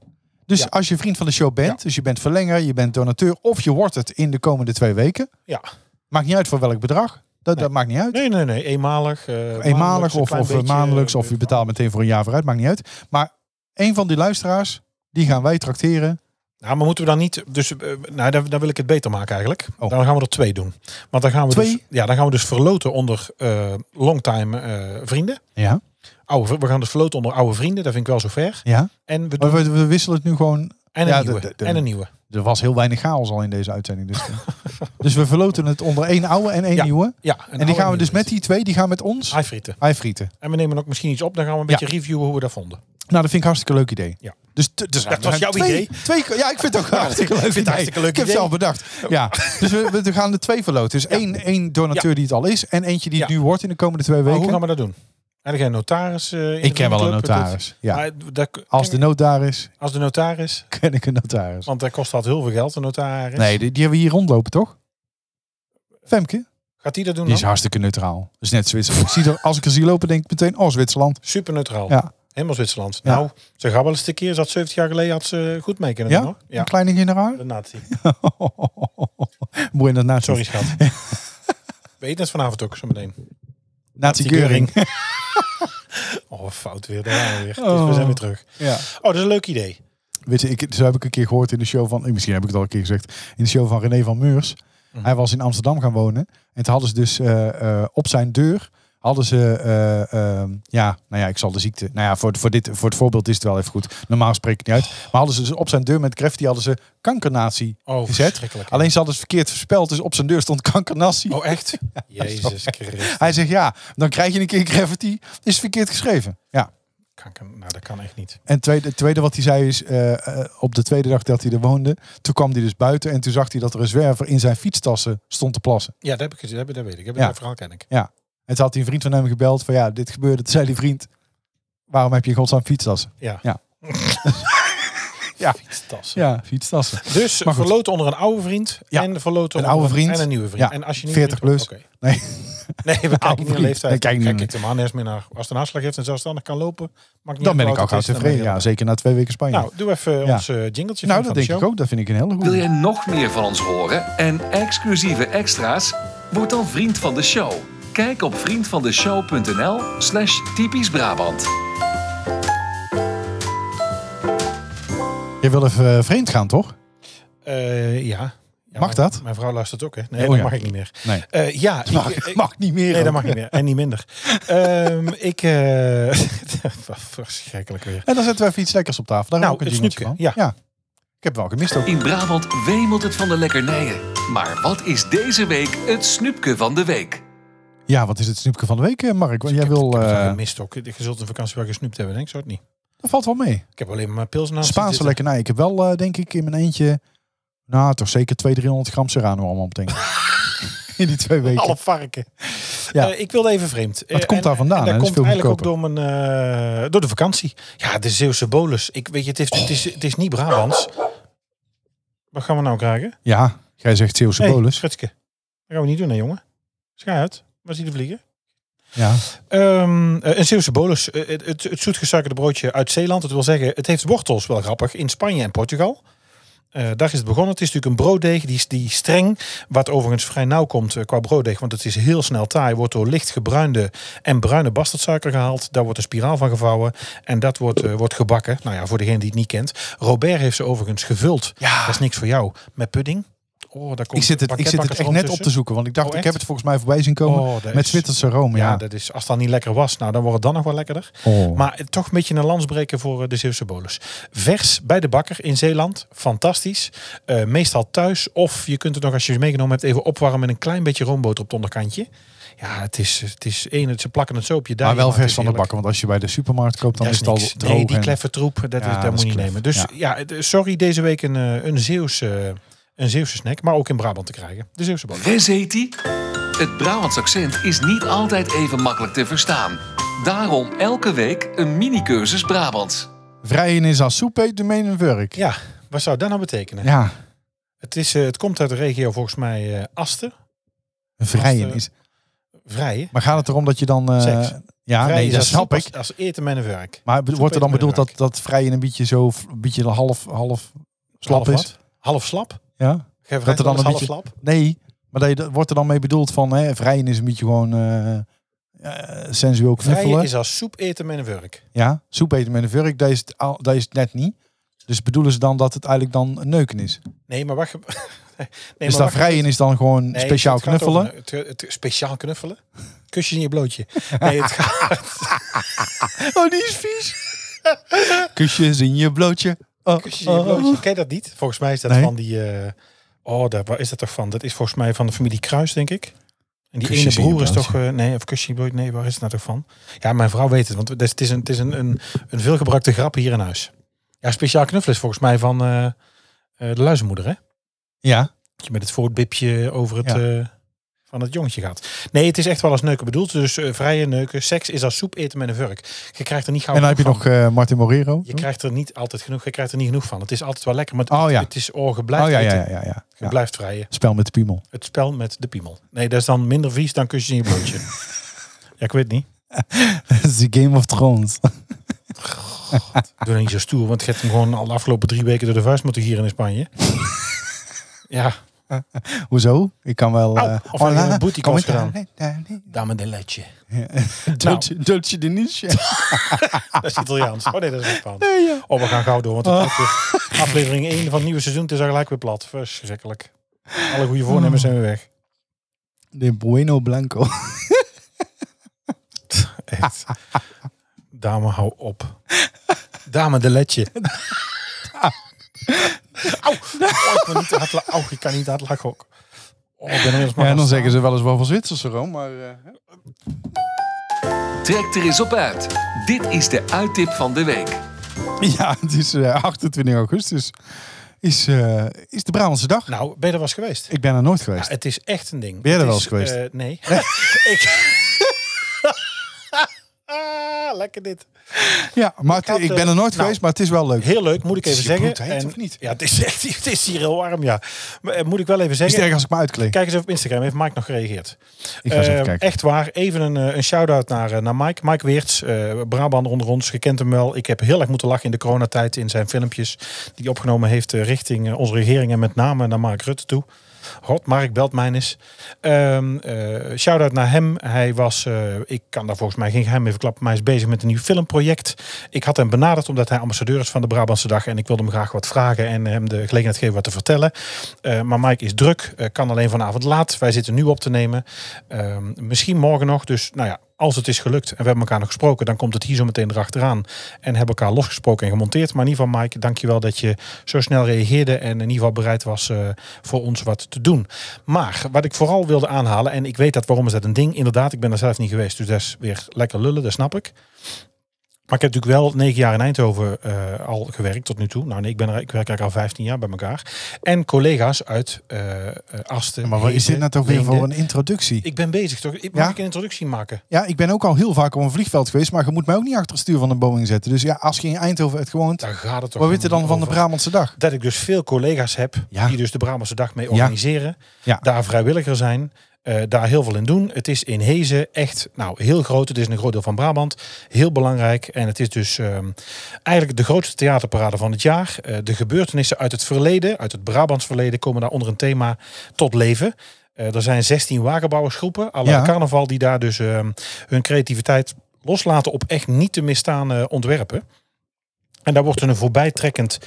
Dus
Ja.
als je vriend van de show bent, dus je bent verlenger, je bent donateur of je wordt het in de komende twee weken.
Ja.
Maakt niet uit voor welk bedrag. Dat, dat maakt niet uit.
Nee, nee, nee. Eenmalig. eh,
Eenmalig
een
of,
klein
of
beetje,
maandelijks
eh,
of je betaalt meteen voor een jaar vooruit, maakt niet uit. Maar een van die luisteraars, die gaan wij trakteren.
Nou, maar moeten we dan niet... Dus, eh, nou, dan, dan wil ik het beter maken eigenlijk.
Oh.
Dan gaan we er twee doen. Want dan gaan we,
Twee?
Dus, ja, dan gaan we dus verloten onder eh, longtime eh, vrienden.
Ja.
Oude, vri- we gaan dus verloten onder oude vrienden. Dat vind ik wel zo ver.
ja.
En we doen
Maar we, we wisselen het nu gewoon.
en een
ja,
nieuwe.
de- de- de-
en een nieuwe.
Er was heel weinig chaos al in deze uitzending. Dus, <laughs> dus we verloten het onder één oude en één
Ja.
nieuwe.
Ja.
En die gaan we dus met die twee, die gaan met ons
High frieten.
frieten.
En we nemen ook misschien iets op. Dan gaan we een
Ja.
beetje reviewen hoe we dat vonden.
Nou, dat vind ik een hartstikke leuk idee.
Ja.
Dus t- dus
Dat
er
was
zijn
jouw
twee,
idee.
Twee, ja, ik vind
<laughs>
het ook een hartstikke leuk
vind het
idee.
hartstikke leuk
ik heb
idee.
het zelf bedacht.
<laughs>
Ja. Dus we, we gaan de twee verloten. Dus één, één donateur die het al is en eentje die het
Ja.
nu wordt in de komende twee
Maar
weken.
hoe gaan we dat doen? En geen notaris. eh, in de
ik ken wel een
vriendenclub? Dat-
notaris. Ja.
Maar dat-
Als de nood daar is, <laughs>
als de notaris.
ken ik een notaris.
Want dat kost altijd heel veel geld, een notaris.
Nee, die, die hebben we hier rondlopen, toch? Femke?
Gaat die dat doen
Die
dan?
is hartstikke neutraal. Dus net
<laughs>
Zwitserland. Ik zie er- als ik er zie lopen, denk ik meteen, oh, Zwitserland.
Super neutraal.
Ja.
Helemaal Zwitserland.
Ja.
Nou, ze gaat wel eens een keer. Zat 70 jaar geleden had ze goed mee kunnen
Ja?
doen. Hoor.
Een
Ja.
kleine
<laughs>
generaal. <laughs>
De nazi.
Moet je dat naast <laughs>
Sorry schat. We eten het vanavond ook zo meteen.
Nazi
Die
Geuring.
<laughs> Geuring.
<laughs>
oh, fout weer. Daar gaan we weer. Dus
Oh.
we zijn weer terug.
Ja.
Oh, dat is een leuk idee.
Weet je, ik, zo heb ik een keer gehoord in de show van, eh, misschien heb ik het al een keer gezegd, in de show van René van Meurs.
Mhm.
Hij was in Amsterdam gaan wonen. En toen hadden ze dus eh, eh, op zijn deur, hadden ze, eh, eh, ja, nou ja, ik zal de ziekte, nou ja, voor, voor, dit, voor het voorbeeld is het wel even goed. Normaal spreek ik niet uit. Maar hadden ze dus op zijn deur met graffiti hadden ze kankernatie
Oh,
gezet.
verschrikkelijk.
Alleen ze hadden het verkeerd verspeld, dus op zijn deur stond kankernatie. <laughs>
Oh, echt? Jezus Christus.
Hij zegt, ja, dan krijg je een keer graffiti, is verkeerd geschreven. Ja.
Kan- kan- Nou, dat kan echt niet.
En het tweede, het tweede wat hij zei is, eh, eh, op de tweede dag dat hij er woonde, toen kwam hij dus buiten en toen zag hij dat er een zwerver in zijn fietstassen stond te plassen.
Ja, dat, heb ik, gezien, dat, heb- dat weet ik. Dat,
Ja.
dat verhaal ken ik.
En toen had hij een vriend van hem gebeld van ja, dit gebeurde. Toen zei die vriend, waarom heb je in godsnaam fietstassen?
Ja. <laughs>
Ja. Ja.
Fietstassen.
Ja, fietstassen.
Dus
Maar goed.
verloten onder een oude vriend
Ja.
en verloten
Een
onder
oude vriend.
en een nieuwe vriend.
Ja,
En als je
40 plus.
oké.
Nee.
Nee, we kijken niet naar
vriend.
leeftijd.
Nee, kijk niet
kijk
meer.
ik de man eerst meer naar als het een aanslag heeft en zelfstandig kan lopen. Maakt niet
<laughs> Dan ben
uit
ik
hoe
ook
oud
oud
het is, dan
tevreden.
ben
Ja,
je-
zeker na twee weken Spanje. Nou,
Nou, doe even
Ja. Nou,
ons eh, jingletje. vriend
dat
van de
denk ik
show.
ook. Dat vind ik een hele
Wil
goede.
jij nog meer van ons horen en exclusieve extra's? Word dan vriend van de show. Kijk op vriendvandeshow.nl slash typisch Brabant.
Je wil even eh, vreemd gaan, toch?
Eh, ja. Ja,
Mag
mijn-
dat?
Mijn vrouw luistert ook, hè? Nee,
Oh,
dat
ja.
mag ik niet meer.
Nee.
Eh, ja, ik,
Mag,
ik-
mag niet meer.
Nee, dat
ook.
mag niet meer. En niet minder. <laughs> Ehm, ik... eh, <laughs> verschrikkelijk weer.
En dan zetten we even iets lekkers op tafel. Daar
Nou,
ook een
het
jingeltje van.
snoepje,
Ik heb wel gemist ook.
In Brabant wemelt het van de lekkernijen. Maar wat is deze week het snoepje van de week?
Ja, wat is het snoepje van de week, eh, Mark? Want
Ik
jij
heb- Ik
wil...
heb het wel
eh,
gemist ook. Je zult een vakantie waar je gesnoept hebben, denk ik. Zo het niet.
dat valt wel mee.
Ik heb alleen maar mijn pils naast.
Spaanse
zitten.
lekkernij. Ik heb wel, eh, denk ik, in mijn eentje... Nou, toch zeker 200, 300 gram Serrano allemaal
<laughs>
meteen. in die twee weken.
Alle varken.
Ja.
Ja. ik wilde even vreemd.
het
Eh,
komt
en-
daar vandaan,
en
hè?
Dat
Dat is
komt
veel
eigenlijk ook door, mijn, eh, door de vakantie. Ja, de Zeeuwse bolus. Ik weet je, het is, het is, het is niet Brabants. Wat gaan we nou krijgen?
Ja, jij zegt Zeeuwse
Hey,
bolus.
Schutske. Dat gaan we niet doen, hè, jongen. Schij uit. Waar zie je de vliegen?
Ja.
Ehm, eh, een Zeeuwse bolus. Eh, het, het, het zoetgesuikerde broodje uit Zeeland. Dat wil zeggen, het heeft wortels, wel grappig, in Spanje en Portugal. Eh, daar is het begonnen. Het is natuurlijk een brooddeeg, die, is- die is streng. Wat overigens vrij nauw komt eh, qua brooddeeg, want het is heel snel taai. Wordt door licht gebruinde en bruine bastardsuiker gehaald. Daar wordt een spiraal van gevouwen. En dat wordt, eh, wordt gebakken. Nou ja, voor degene die het niet kent. Robert heeft ze overigens gevuld.
Ja.
Dat is niks voor jou. Met pudding. Oh, daar komt
Ik zit het, ik zit het echt net op te zoeken. Want ik dacht,
Oh,
ik
echt?
heb het volgens mij voorbij zien komen.
Oh, dat
met
is-
Zwitserse room,
Ja,
ja.
dat is, als dat niet lekker was, nou, dan wordt het dan nog wel lekkerder.
Oh.
Maar eh, toch een beetje een landsbreker voor eh, de Zeeuwse bolus. Vers bij de bakker in Zeeland. Fantastisch. Eh, meestal thuis. Of je kunt het nog, als je het meegenomen hebt, even opwarmen met een klein beetje roomboter op het onderkantje. Ja, het is, het is één, het- ze plakken het zo op je daar.
maar wel vers van de bakken. Want als je bij de supermarkt koopt, dan
Dat
is
is
het al
niks.
droog.
Nee, die
en-
kleffe troep, dat,
Ja,
is, dat,
dat is
moet je niet
klef.
nemen. Dus
Ja.
ja, d- sorry, deze week een, eh, een, Zeeuwse, een Zeeuwse snack. Maar ook in Brabant te krijgen. De Zeeuwse bolus.
Wes heet die? Het Brabants accent is niet altijd even makkelijk te verstaan. Daarom elke week een mini-cursus Brabants.
Vrijen is als soep eet de meen een wurk.
Ja, wat zou dat nou betekenen?
Ja,
Het, is, eh, het komt uit de regio volgens mij eh Asten,
vrijen
eh,
is.
Vrijen.
Maar gaat het erom dat je dan. eh,
Seks.
Ja,
Vrijen
nee,
is
dat
als
snap
soep,
ik.
Als, als eten met een werk.
Maar be- wordt er dan
eten
bedoeld
met
dat, dat vrijen een beetje zo. f- een beetje half, half slap
half
is?
Wat? Half slap?
Ja.
Geef
er
dat
dan
dan
een
een half
beetje-
slap?
Nee, maar dat je, dat wordt er dan mee bedoeld van. Hè, vrijen is een beetje gewoon. eh eh, sensueel
Vrijen
knuffelen.
is als soep eten met een werk.
Ja, soep eten met een vurk, dat is, het al- dat is het net niet. Dus bedoelen ze dan dat het eigenlijk dan neuken is?
Nee, maar wacht. <laughs> nee,
dus dat vrijen is dan gewoon
Nee,
speciaal
het gaat over
knuffelen?
een- het, het- speciaal knuffelen? Kusje in je blootje.
<laughs>
Nee, het gaat,
Oh, die is vies. <laughs> Kusjes in je blootje. Oh,
kusje in je blootje. Ken je dat niet? Volgens mij is dat
Nee.
van die... eh, oh, daar, waar is dat toch van? Dat is volgens mij van de familie Kruis, denk ik. En die
Kusjes in
ene
je
broer is toch...
blootje.
eh, nee, of kusje in je blootje. Nee, waar is het nou toch van? Ja, mijn vrouw weet het. Want het is, het is, een, het is een, een, een veelgebruikte grap hier in huis. Ja, speciaal knuffelen is volgens mij van eh, eh, de luizenmoeder, hè?
Ja,
Dat je met het voortbipje over het,
Ja.
eh, van het jongetje gaat. Nee, het is echt wel als neuken bedoeld. Dus eh, vrije neuken. Seks is als soep eten met een vurk. Je krijgt er niet gauw
en dan heb je
genoeg
nog eh, Martin Morero.
van. Je krijgt er niet altijd genoeg. Je krijgt er niet genoeg van. Het is altijd wel lekker. Maar het,
Oh ja.
het is oh, je blijft
oh ja, ja,
eten.
ja, ja, ja.
Je
Ja.
blijft vrijen.
Spel met de piemel. <laughs>
Het spel met de piemel. Nee, dat is dan minder vies dan kusjes in je
<laughs>
blootje. ja, ik weet niet.
Dat is de Game of Thrones.
Doe dan niet zo stoer, want je hebt hem gewoon al de afgelopen drie weken door de vuist moeten gieren in
<laughs>
Spanje. ja,
Hoezo? Ik kan wel...
Au,
eh,
of heb je
la-
een booty
kom
calls
ik-
gedaan?
<laughs>
dame de letje.
Dolce- Dolce de Niche. <laughs> Ah.
Dat is Italiaans. Oh nee, dat is Japans. Oh, we gaan gauw door, want de
<laughs>
klok is- aflevering 1 van het nieuwe seizoen het is al gelijk weer plat. Verschrikkelijk. Alle goede voornemens
Hmm.
zijn weer weg.
De Bueno Blanco.
Echt. Dame, hou op. Dame, de letje. Au. Oh, ik ben niet te hard la- Au, ik kan niet te hard lachen ook. Oh, ik ben inmiddels maar
Ja, en dan
gaan
zeggen ze
staan.
wel eens wel van Zwitserse room, maar... eh,
Trek er eens op uit. Dit is de uittip van de week.
Ja, het is eh, 28 augustus. Is, eh, is de Brabantse dag.
Nou, ben je er wel eens geweest?
Ik ben er nooit
Ja,
geweest.
het is echt een ding.
Ben jij er
Het
wel
is,
eens geweest?
eh, nee. <laughs> ik... Ah, lekker dit.
Ja, maar het-
had,
ik nou,
eh,
ben er nooit geweest, maar het is wel leuk.
Heel leuk, moet ik
Het is
even
je
zeggen.
bloed heet, of niet?
Ja, het is, echt, <laughs> het is hier heel warm, ja. Maar, eh, moet ik wel even
Is het
zeggen.
erg als ik me uitkleed?
Kijk eens even op Instagram, heeft Mike nog gereageerd.
Ik ga eens even
Eh,
kijken.
Echt waar, even een, eh, een shout-out naar, eh, naar Mike. Mike Weerts, eh Brabant onder ons, je kent hem wel. Ik heb heel erg moeten lachen in de coronatijd in zijn filmpjes die hij opgenomen heeft eh, richting eh, onze regering en met name naar Mark Rutte toe. God, Mark belt mij eens. Ehm eh, shout-out naar hem. Hij was, eh, ik kan daar volgens mij geen geheim mee verklappen, maar hij is bezig met een nieuw filmproject. Ik had hem benaderd omdat hij ambassadeur is van de Brabantse Dag en ik wilde hem graag wat vragen en hem de gelegenheid geven wat te vertellen. Eh, maar Mike is druk, eh, kan alleen vanavond laat. Wij zitten nu op te nemen. Ehm, misschien morgen nog. Dus nou ja, als het is gelukt en we hebben elkaar nog gesproken, dan komt het hier zo meteen erachteraan. En hebben elkaar losgesproken en gemonteerd. Maar in ieder geval, Mike, dankjewel dat je zo snel reageerde en in ieder geval bereid was eh, voor ons wat te doen. Maar wat ik vooral wilde aanhalen, en ik weet dat waarom is dat een ding. Inderdaad, ik ben er zelf niet geweest. Dus dat is weer lekker lullen, dat snap ik. Maar ik heb natuurlijk wel negen jaar in Eindhoven eh, al gewerkt tot nu toe. Nou nee, ik, ben er, ik werk eigenlijk al 15 jaar bij elkaar. En collega's uit eh, eh, Asten.
Maar wat is dit
Heden,
nou toch weer
Leenden.
voor een introductie?
Ik ben bezig toch? Ik- Mag
Ja?
ik een introductie maken?
Ja, ik ben ook al heel vaak op een vliegveld geweest, maar je moet mij ook niet achter het stuur van een Boeing zetten. Dus ja, als je in Eindhoven hebt gewoond,
Daar gaat het toch
wat weet je dan van de
over?
Brabantse dag?
Dat ik dus veel collega's heb
Ja.
die dus de Brabantse Dag mee organiseren.
Ja.
Daar vrijwilliger zijn. eh, daar heel veel in doen. Het is in Hezen echt nou, heel groot. Het is een groot deel van Brabant. Heel belangrijk. En het is dus ehm, eigenlijk de grootste theaterparade van het jaar. Eh, de gebeurtenissen uit het verleden, uit het Brabants verleden, komen daar onder een thema tot leven. Eh, er zijn 16 wagenbouwersgroepen, à la
Ja.
carnaval, die daar dus ehm, hun creativiteit loslaten op echt niet te misstaan eh, ontwerpen. En daar wordt een voorbijtrekkend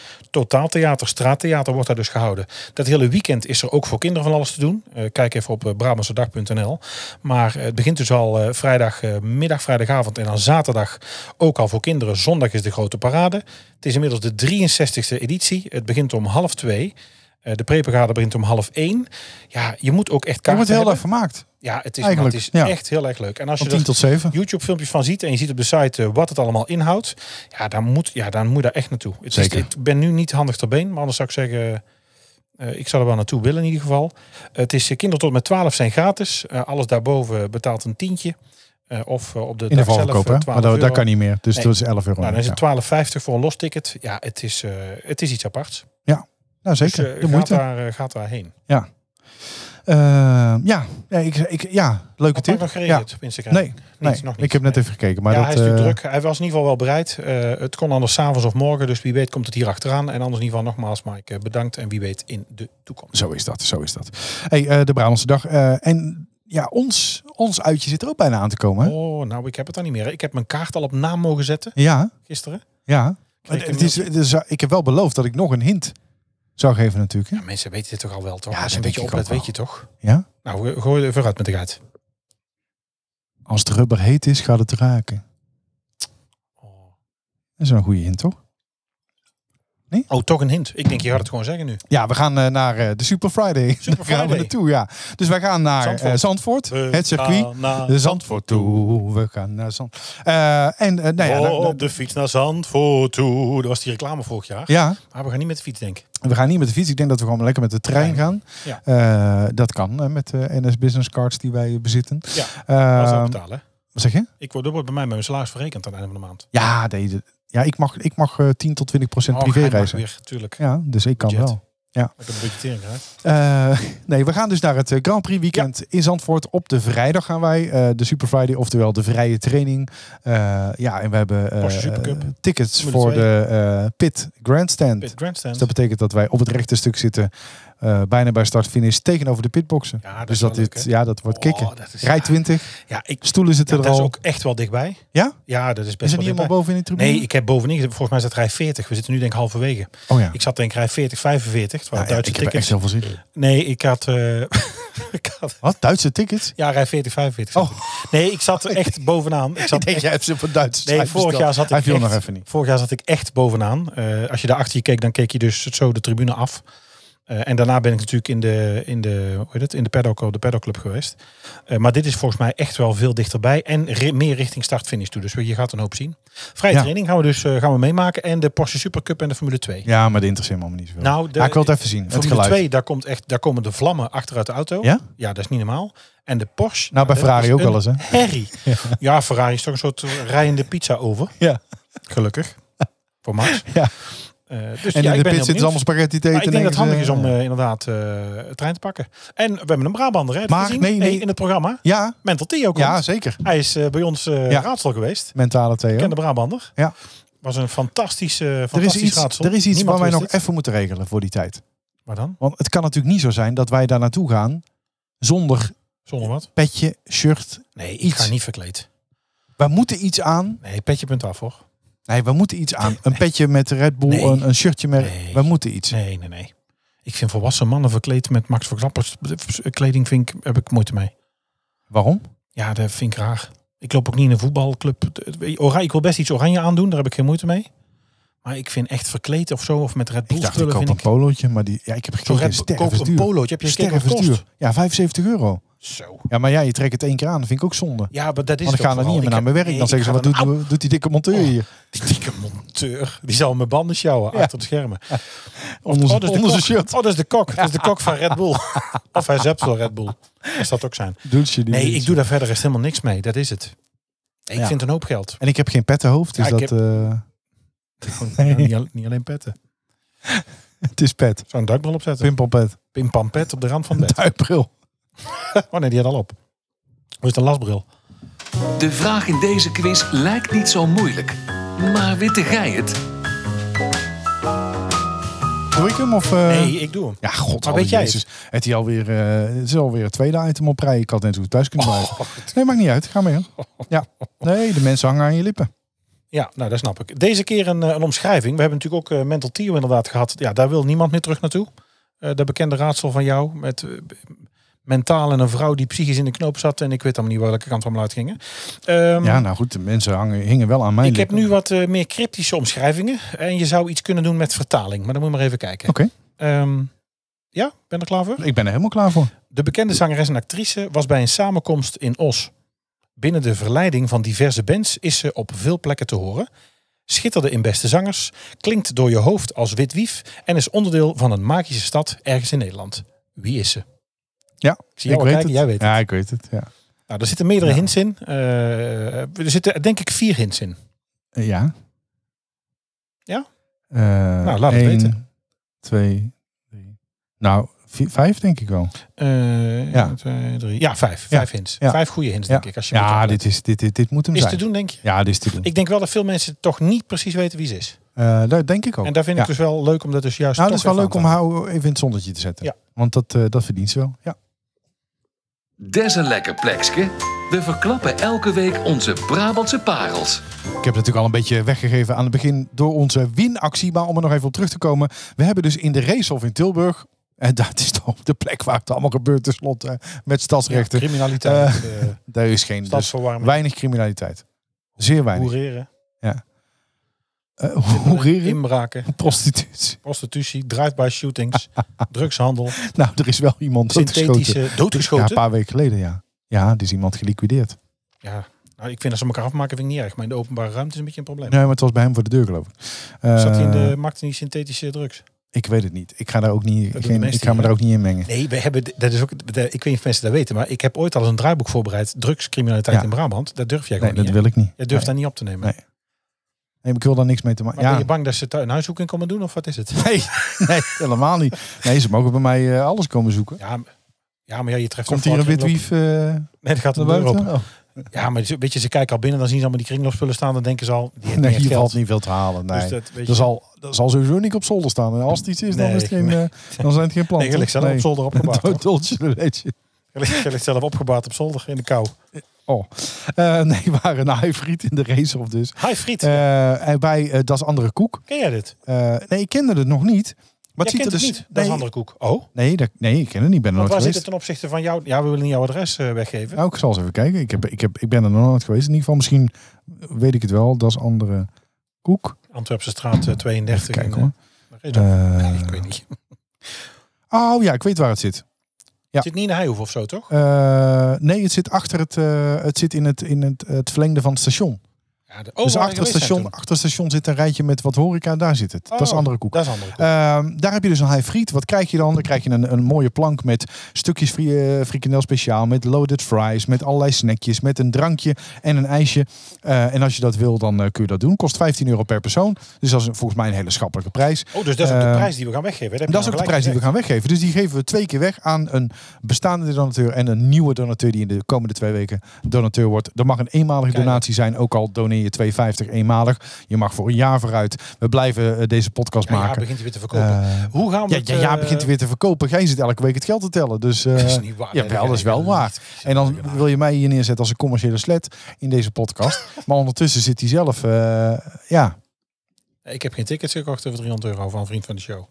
totaaltheater, straattheater wordt daar dus gehouden. Dat hele weekend is er ook voor kinderen van alles te doen. Eh, kijk even op eh, brabantsedag.nl. Maar eh, het begint dus al eh, vrijdagmiddag, vrijdagavond en dan zaterdag ook al voor kinderen. Zondag is de grote parade. Het is inmiddels de 63e editie. Het begint om half twee. Eh, de preparade begint om half één. Ja, je moet ook echt
Je
kaarten
wordt heel
hebben.
erg vermaakt.
Ja, het is, maar
Eigenlijk,
het is
ja.
echt heel erg leuk. En als
Van
je er
10 tot 7.
YouTube-filmpjes van ziet en je ziet op de site eh, wat het allemaal inhoudt, ja, dan moet, ja, dan moet je daar echt naartoe. Het is-
Zeker.
ik ben nu niet handig ter been, maar anders zou ik zeggen, eh, ik zou er wel naartoe willen in ieder geval. het is eh, kinderen tot en met 12 zijn gratis. Eh, alles daarboven betaalt een tientje. eh, of eh, op de
In de
dag zelf
voorverkoop,
eh,
hè?
12
Maar dat, dat
euro.
kan niet meer. Dus
Nee.
dat is 11 euro.
Nou, dan is
ja.
het 12,50 voor een los ticket. Ja, het is, eh, het is iets aparts.
Nou,
Dus,
zeker.
eh,
de
gaat,
moeite.
daar, eh, gaat daarheen.
Eh, ja, ja, ik, ik, ja, leuke
Had Mark
tip.
nog
ja.
gereageerd op Instagram?
Nee, nee,
nog niet.
ik heb net
Nee.
even gekeken. Maar
ja,
dat,
hij is natuurlijk
eh,
druk. Hij was in ieder geval wel bereid. Eh, het kon anders s'avonds of morgen. Dus wie weet komt het hier achteraan. En anders in ieder geval nogmaals Mike eh, bedankt. En wie weet in de toekomst.
Zo is dat, zo is dat. Hey, eh, de Brabantse dag. eh, en ja, ons, ons uitje zit er ook bijna aan te komen. hè?
Oh, nou ik heb het dan niet meer. Ik heb mijn kaart al op naam mogen zetten
Ja,
gisteren.
ja.
Kreeg ik
Het is, het is- eh, ik heb wel beloofd dat ik nog een hint zou geven natuurlijk. Hè?
Ja, mensen weten dit toch al wel, toch?
Ja,
Als je
dat
een beetje
denk ik
oplet,
ook wel.
weet je toch?
Ja?
Nou, eh, gooi er vooruit met de kaart.
Als het rubber heet is, gaat het raken. Dat is wel een goede hint, toch?
Oh, toch een hint. Ik denk, je gaat het gewoon zeggen nu.
Ja, we gaan eh, naar eh, de Super Friday. <laughs>
Super
Daar gaan we
Friday.
naartoe, ja. Dus wij gaan naar eh, Zandvoort,
Zandvoort.
het circuit. de Zandvoort toe. We gaan naar Zand. Eh, en eh, nou ja, nou- nou-
Oh, op de fiets naar Zandvoort toe. Dat was die reclame vorig jaar.
ja,
Maar we gaan niet met de fiets, denk ik.
we gaan niet met de fiets. Ik denk dat we gewoon lekker met de trein gaan.
Ja.
Eh, dat kan eh, met de NS Business Cards die wij bezitten.
Ja,
Eh,
Als dat betalen. hè?
wat zeg je?
Ik word, dat wordt bij mij met mijn salaris verrekend aan het einde van de maand.
Ja, nee, de- ja ik mag, ik mag eh, 10 tot 20 procent
Oh,
privé
hij mag
reizen.
weer, tuurlijk.
Ja, dus ik kan
Budget.
wel.
Ik heb een budgettering gehad.
Eh, <laughs> nee, we gaan dus naar het eh, Grand Prix weekend in Zandvoort. Op de vrijdag gaan wij, eh, de Super Friday, oftewel de vrije training. Eh, ja, en we hebben eh,
Porsche Supercup.
tickets
Formule
voor
twee.
de eh, Pit Grandstand.
Pit Grandstand.
Dus dat betekent dat wij op het rechte stuk zitten, eh, bijna bij start-finish, tegenover de pitboxen.
Ja, dat
dus
is
dat
wel leuk,
dit,
hè?
ja, dat wordt kicken.
Oh, dat is-
Rij 20,
Ja, ik,
stoelen zitten
dat
er
is
al.
ook echt wel dichtbij.
Ja?
Ja, dat is
Is het
best wel
niet helemaal
dichtbij.
boven in de tribune?
Nee, ik heb bovenin, gezeten. volgens mij is dat rij 40. We zitten nu denk ik halverwege.
oh ja. Nou
Ik zat denk ik rij 40, 45. Het
Ja,
waren
ja,
Duitse
ik heb er echt
tickets.
heel veel zin in.
Nee, ik had, eh, <laughs> ik had
Wat? Duitse tickets?
Ja, rij 40, 45.
Oh.
Nee, ik zat er
<laughs>
echt bovenaan. <laughs> Ik
Ik
zat
denk,
echt-
jij hebt ze voor Duits.
nee, vorig jaar, zat ik
Hij viel
echt,
nog even niet.
vorig jaar zat ik echt bovenaan. Eh, als je daar achter je keek, dan keek je dus zo de tribune af. Eh, en daarna ben ik natuurlijk in de, in de, hoe heet het, in de paddock, op de paddockclub geweest. Eh, maar dit is volgens mij echt wel veel dichterbij. En ri- meer richting start-finish toe. Dus je gaat een hoop zien. Vrije
Ja.
training gaan we dus eh, gaan we meemaken. En de Porsche Supercup en de Formule 2.
Ja, maar de interesseert me allemaal niet zoveel.
Nou, de,
Maar ik wil het even zien. Het
Formule
geluid.
2, daar, komt echt, daar komen de vlammen achteruit de auto.
Ja?
Ja, dat is niet normaal. En de Porsche.
Nou, bij
dat
Ferrari
is
ook
een
wel eens, hè? <laughs>
Herrie. dus Ja. Ferrari is toch een soort rijende pizza over.
Ja. <laughs>
Gelukkig. Voor Max.
Ja.
Eh, dus
En
ja,
in
ik
de
ben
pit
heel
zitten
benieuwd.
allemaal spaghetti te eten.
Maar ik denk dat
en
het handig is
denken
om
ze,
eh, inderdaad eh, trein te pakken. En we hebben een Brabander, hè? heb je
Maar,
gezien?
nee, nee.
Eh, In het programma.
Ja,
Mental Theo komt.
ja, zeker.
Hij is eh, bij ons eh,
Ja.
raadsel geweest.
Mentale Theo.
Ken de Brabander.
Ja.
Was een fantastische,
Er
fantastisch
is iets,
raadsel.
er is iets waar
Niemand
wij
wist
nog
het.
even moeten regelen voor die tijd.
Maar dan?
Want het kan natuurlijk niet zo zijn dat wij daar naartoe gaan zonder
Zonder wat?
petje, shirt.
Nee, ik
Iets.
ga niet verkleed.
Wij moeten iets aan.
Nee, petje punt af hoor.
Nee, we moeten iets aan. Een petje met Red Bull,
Nee.
een, een shirtje met...
Nee.
We moeten iets.
Nee, nee, nee. Ik vind volwassen mannen verkleed met Max Verstappen kleding vind ik, heb ik moeite mee.
Waarom?
Ja, dat vind ik raar. Ik loop ook niet in een voetbalclub. Oranje, ik wil best iets oranje aandoen, daar heb ik geen moeite mee. Maar ik vind echt verkleed of zo, of met Red Bull
Ik dacht, ik koop
vind
een polootje, maar die... Ja, ik heb
Zo'n
gekeken,
Red Bull- koop
sterven
een
duur.
polootje, heb je gekeken wat het
Sterven
kost?
duur. Ja, 75 euro.
Zo.
Ja, maar ja, je trekt het één keer aan. Dat vind ik ook zonde.
Ja, maar dat is
Want
het
ik ga dan
ook
niet
vooral.
meer
Ik
naar
heb-
mijn werk.
nee,
dan zeggen ze,
ik
wat
ga
doet,
dan-
doet die dikke monteur
Oh.
hier?
Die dikke monteur, die zal mijn banden sjouwen
Ja.
achter de schermen.
Onder,
Oh, dat is de
onder zijn
kok.
shirt.
Oh, dat is de kok. Dat is de kok van Red Bull. of hij zept wel Red Bull. Dat zou het ook
<laughs>
zijn.
Doet je die
Nee,
niet.
ik doe daar verder echt helemaal niks mee. Dat is het. Ik
Ja.
vind een hoop geld.
En ik heb geen pettenhoofd, dus
Ja, ik
dat, eh,
Gewoon,
<laughs> Nee.
nou, niet, al- niet alleen petten.
het is pet.
Zou een duikbril opzetten. <laughs>
Pimpelpet.
Pim pam pet op de rand van het bed.
Duikbril.
<laughs> Oh nee, die had al op. Hoe is de lasbril?
De vraag in deze quiz lijkt niet zo moeilijk. Maar witte gij het?
Doe ik hem of... eh,
Nee, ik doe hem.
Ja, god,
Maar
alweer
weet jij het?
Jezus. Het, is alweer, eh, het is alweer het tweede item op rij. Ik had net zo goed thuis
Oh,
kunnen
<laughs>
blijven. Nee, maakt niet uit. Ga mee. hoor. Ja. Nee, de mensen hangen aan je lippen.
Ja, nou dat snap ik. Deze keer een, eh, een omschrijving. We hebben natuurlijk ook eh, Mental Theo inderdaad gehad. Ja, daar wil niemand meer terug naartoe. Eh dat bekende raadsel van jou met eh, b- mentaal en een vrouw die psychisch in de knoop zat. En ik weet dan niet welke kant we allemaal uitgingen. Ehm,
Ja, nou goed, de mensen hangen, hingen wel aan mijn
ik heb
lippen.
nu wat eh, meer cryptische omschrijvingen. En je zou iets kunnen doen met vertaling. Maar dan moet je maar even kijken.
Oké.
Ehm, ja, ben er klaar voor?
Ik ben er helemaal klaar voor.
De bekende zangeres en actrice was bij een samenkomst in Os. Binnen de verleiding van diverse bands is ze op veel plekken te horen. Schitterde in beste zangers, klinkt door je hoofd als wit wief en is onderdeel van een magische stad ergens in Nederland. Wie is ze?
Ja,
Ik zie jou al kijken, jij weet het.
Ja, ik weet het. Ja.
Nou, er zitten meerdere
Ja.
hints in. Eh, er zitten denk ik vier hints in.
Eh, ja.
Ja?
Eh,
Nou, laat het
één,
weten.
twee, drie. Nou, vi- vijf denk ik wel.
Eh
Ja.
ja. Twee, drie. ja, vijf.
Ja.
Vijf hints.
Ja.
Vijf goede hints,
Ja.
denk ik. Als je moet
Ja,
opletten.
dit, is, dit, dit, dit moet hem
is
zijn.
te doen, denk je.
Ja, dit is te doen.
Ik denk wel dat veel mensen toch niet precies weten wie ze is.
Eh, dat denk ik ook.
En daar vind
ja.
ik dus wel leuk om dat dus juist
Nou, dat
toch
is wel
even
leuk om
aan te
haar even in het zonnetje te zetten.
Ja.
Want dat, eh, dat verdient ze wel. Ja.
Des een lekker plekske. We verklappen elke week onze Brabantse parels.
Ik heb natuurlijk al een beetje weggegeven aan het begin door onze winactie. Maar om er nog even op terug te komen. We hebben dus in de racehof in Tilburg. En <laughs> dat is toch de plek waar het allemaal gebeurt tenslotte. eh, Met stadsrechten.
Criminaliteit, eh
Daar is geen, <laughs> dus
stadsverwarming,
weinig criminaliteit. Zeer weinig.
hoereren,
Eh, Hoereren, <laughs>
inbraken,
prostitutie.
prostitutie, drive-by
<laughs>
shootings, drugshandel,
Nou, er is wel iemand doodgeschoten.
synthetische
Ja, een
doodgeschoten. Ja,
paar weken geleden, ja. Ja, er is iemand geliquideerd.
Nou, ik vind dat ze elkaar afmaken vind ik niet erg, maar in de openbare ruimte is een beetje een probleem.
Nee, maar het was bij hem voor de deur, geloof ik. Eh,
Zat hij in de markt in die synthetische drugs?
Ik weet het niet. Ik ga, daar ook niet,
doen
geen,
de
ik
meesten
ga me
hier,
daar ook niet in mengen.
Nee, we hebben, dat is ook, dat- ik weet niet of mensen dat weten, maar ik heb ooit al een draaiboek voorbereid, drugscriminaliteit
Ja.
in Brabant. Dat durf
Nee,
jij gewoon
dat
niet. hè?
wil ik niet.
Jij
nee.
durft daar niet op te nemen.
Nee. Nee, maar ik wil daar niks mee te maken.
Maar
Ja.
ben je bang dat ze thuis een huiszoeking komen doen of
<laughs>
wat is het?
Nee, <laughs> nee, helemaal niet. Nee, ze mogen bij mij eh, alles komen zoeken.
Ja, m- ja maar ja, je treft
Komt
toch
hier een
wel kringloop-
witwief eh naar
Nee, dat gaat een deur
buiten?
open.
Oh.
Ja, maar ze- weet je, ze kijken al binnen, dan zien ze allemaal die kringloopspullen staan, dan denken ze al, die heeft
Nee,
niet
hier
echt geld.
valt niet veel te halen. Nee.
Dus dat, weet je,
dat, zal, dat zal sowieso niet op zolder staan. En als het iets is, dan,
Nee,
is het geen, eh,
<laughs>
dan zijn het geen plannen.
nee, je ligt zelf
<laughs>
op zolder opgebaard. hoor.
Dood- Dolce de leche.
Je ligt- je ligt zelf opgebaard op zolder in de kou.
Oh. <laughs> Eh, nee, we waren een friet in de race of dus.
Hi Friet,
Eh, en bij eh, Das Andere Koek.
ken jij dit?
Eh, nee, ik kende het nog niet. Maar
Wat
het
ziet
ziet
kent
er
het
dus...
niet, dat is
nee,
een andere koek. Oh,
Nee, dat, nee, ik ken het niet. Ik ben er
want
nooit
waar
geweest.
zit het ten opzichte van jou? Ja, we willen niet jouw adres eh, weggeven.
Nou, ik zal eens even kijken. Ik, heb, ik, heb, ik ben er nog nooit geweest. In ieder geval, misschien weet ik het wel. Dat is andere koek.
Antwerpse straat eh, 32.
Kijk
in, eh,
hoor.
waar is dat?
Eh,
ik weet niet.
oh ja, ik weet waar het zit. ja.
Zit niet in de Heihoef of zo, toch?
Eh, nee, het zit achter het, eh, het zit in het, in het, het verlengde van het station.
Ja, de, oh,
dus
waar we
achter het,
geweest zijn
station,
toen.
achter het station zit een rijtje met wat horeca. Daar zit het. dat is
Oh,
andere koek.
Dat is andere koek.
Ehm, daar heb je dus een high friet. Wat krijg je dan? Dan krijg je een, een mooie plank met stukjes fri eh, frikandel speciaal, met loaded fries, met allerlei snackjes, met een drankje en een ijsje. Eh, en als je dat wil, dan eh, kun je dat doen. Kost 15 euro per persoon. Dus dat is een- volgens mij een hele schappelijke prijs.
Oh, dus dat is ook de
Ehm,
prijs die we gaan weggeven.
En dat is ook de prijs die we gaan weggeven. Dus die geven we twee keer weg aan een bestaande donateur en een nieuwe donateur die in de komende twee weken donateur wordt. Er mag een eenmalige
Kijk.
donatie zijn, ook al doneer je 2,50 eenmalig. Je mag voor een jaar vooruit. We blijven eh, deze podcast
Ja, ja,
maken.
begint hij weer te verkopen.
Eh,
Hoe gaan we
Ja,
het,
ja, ja
eh,
begint hij weer te verkopen. Jij zit elke week het geld te tellen. Dus, eh
<laughs> Dat is niet waar.
Ja,
Nee,
wel, dat is wel
nee,
waar.
nee,
En dan wil je mij hier neerzetten als een commerciële slet in deze
<laughs>
podcast. maar ondertussen zit hij zelf. eh, ja,
Ik heb geen tickets gekocht voor 300 euro van een vriend van de show.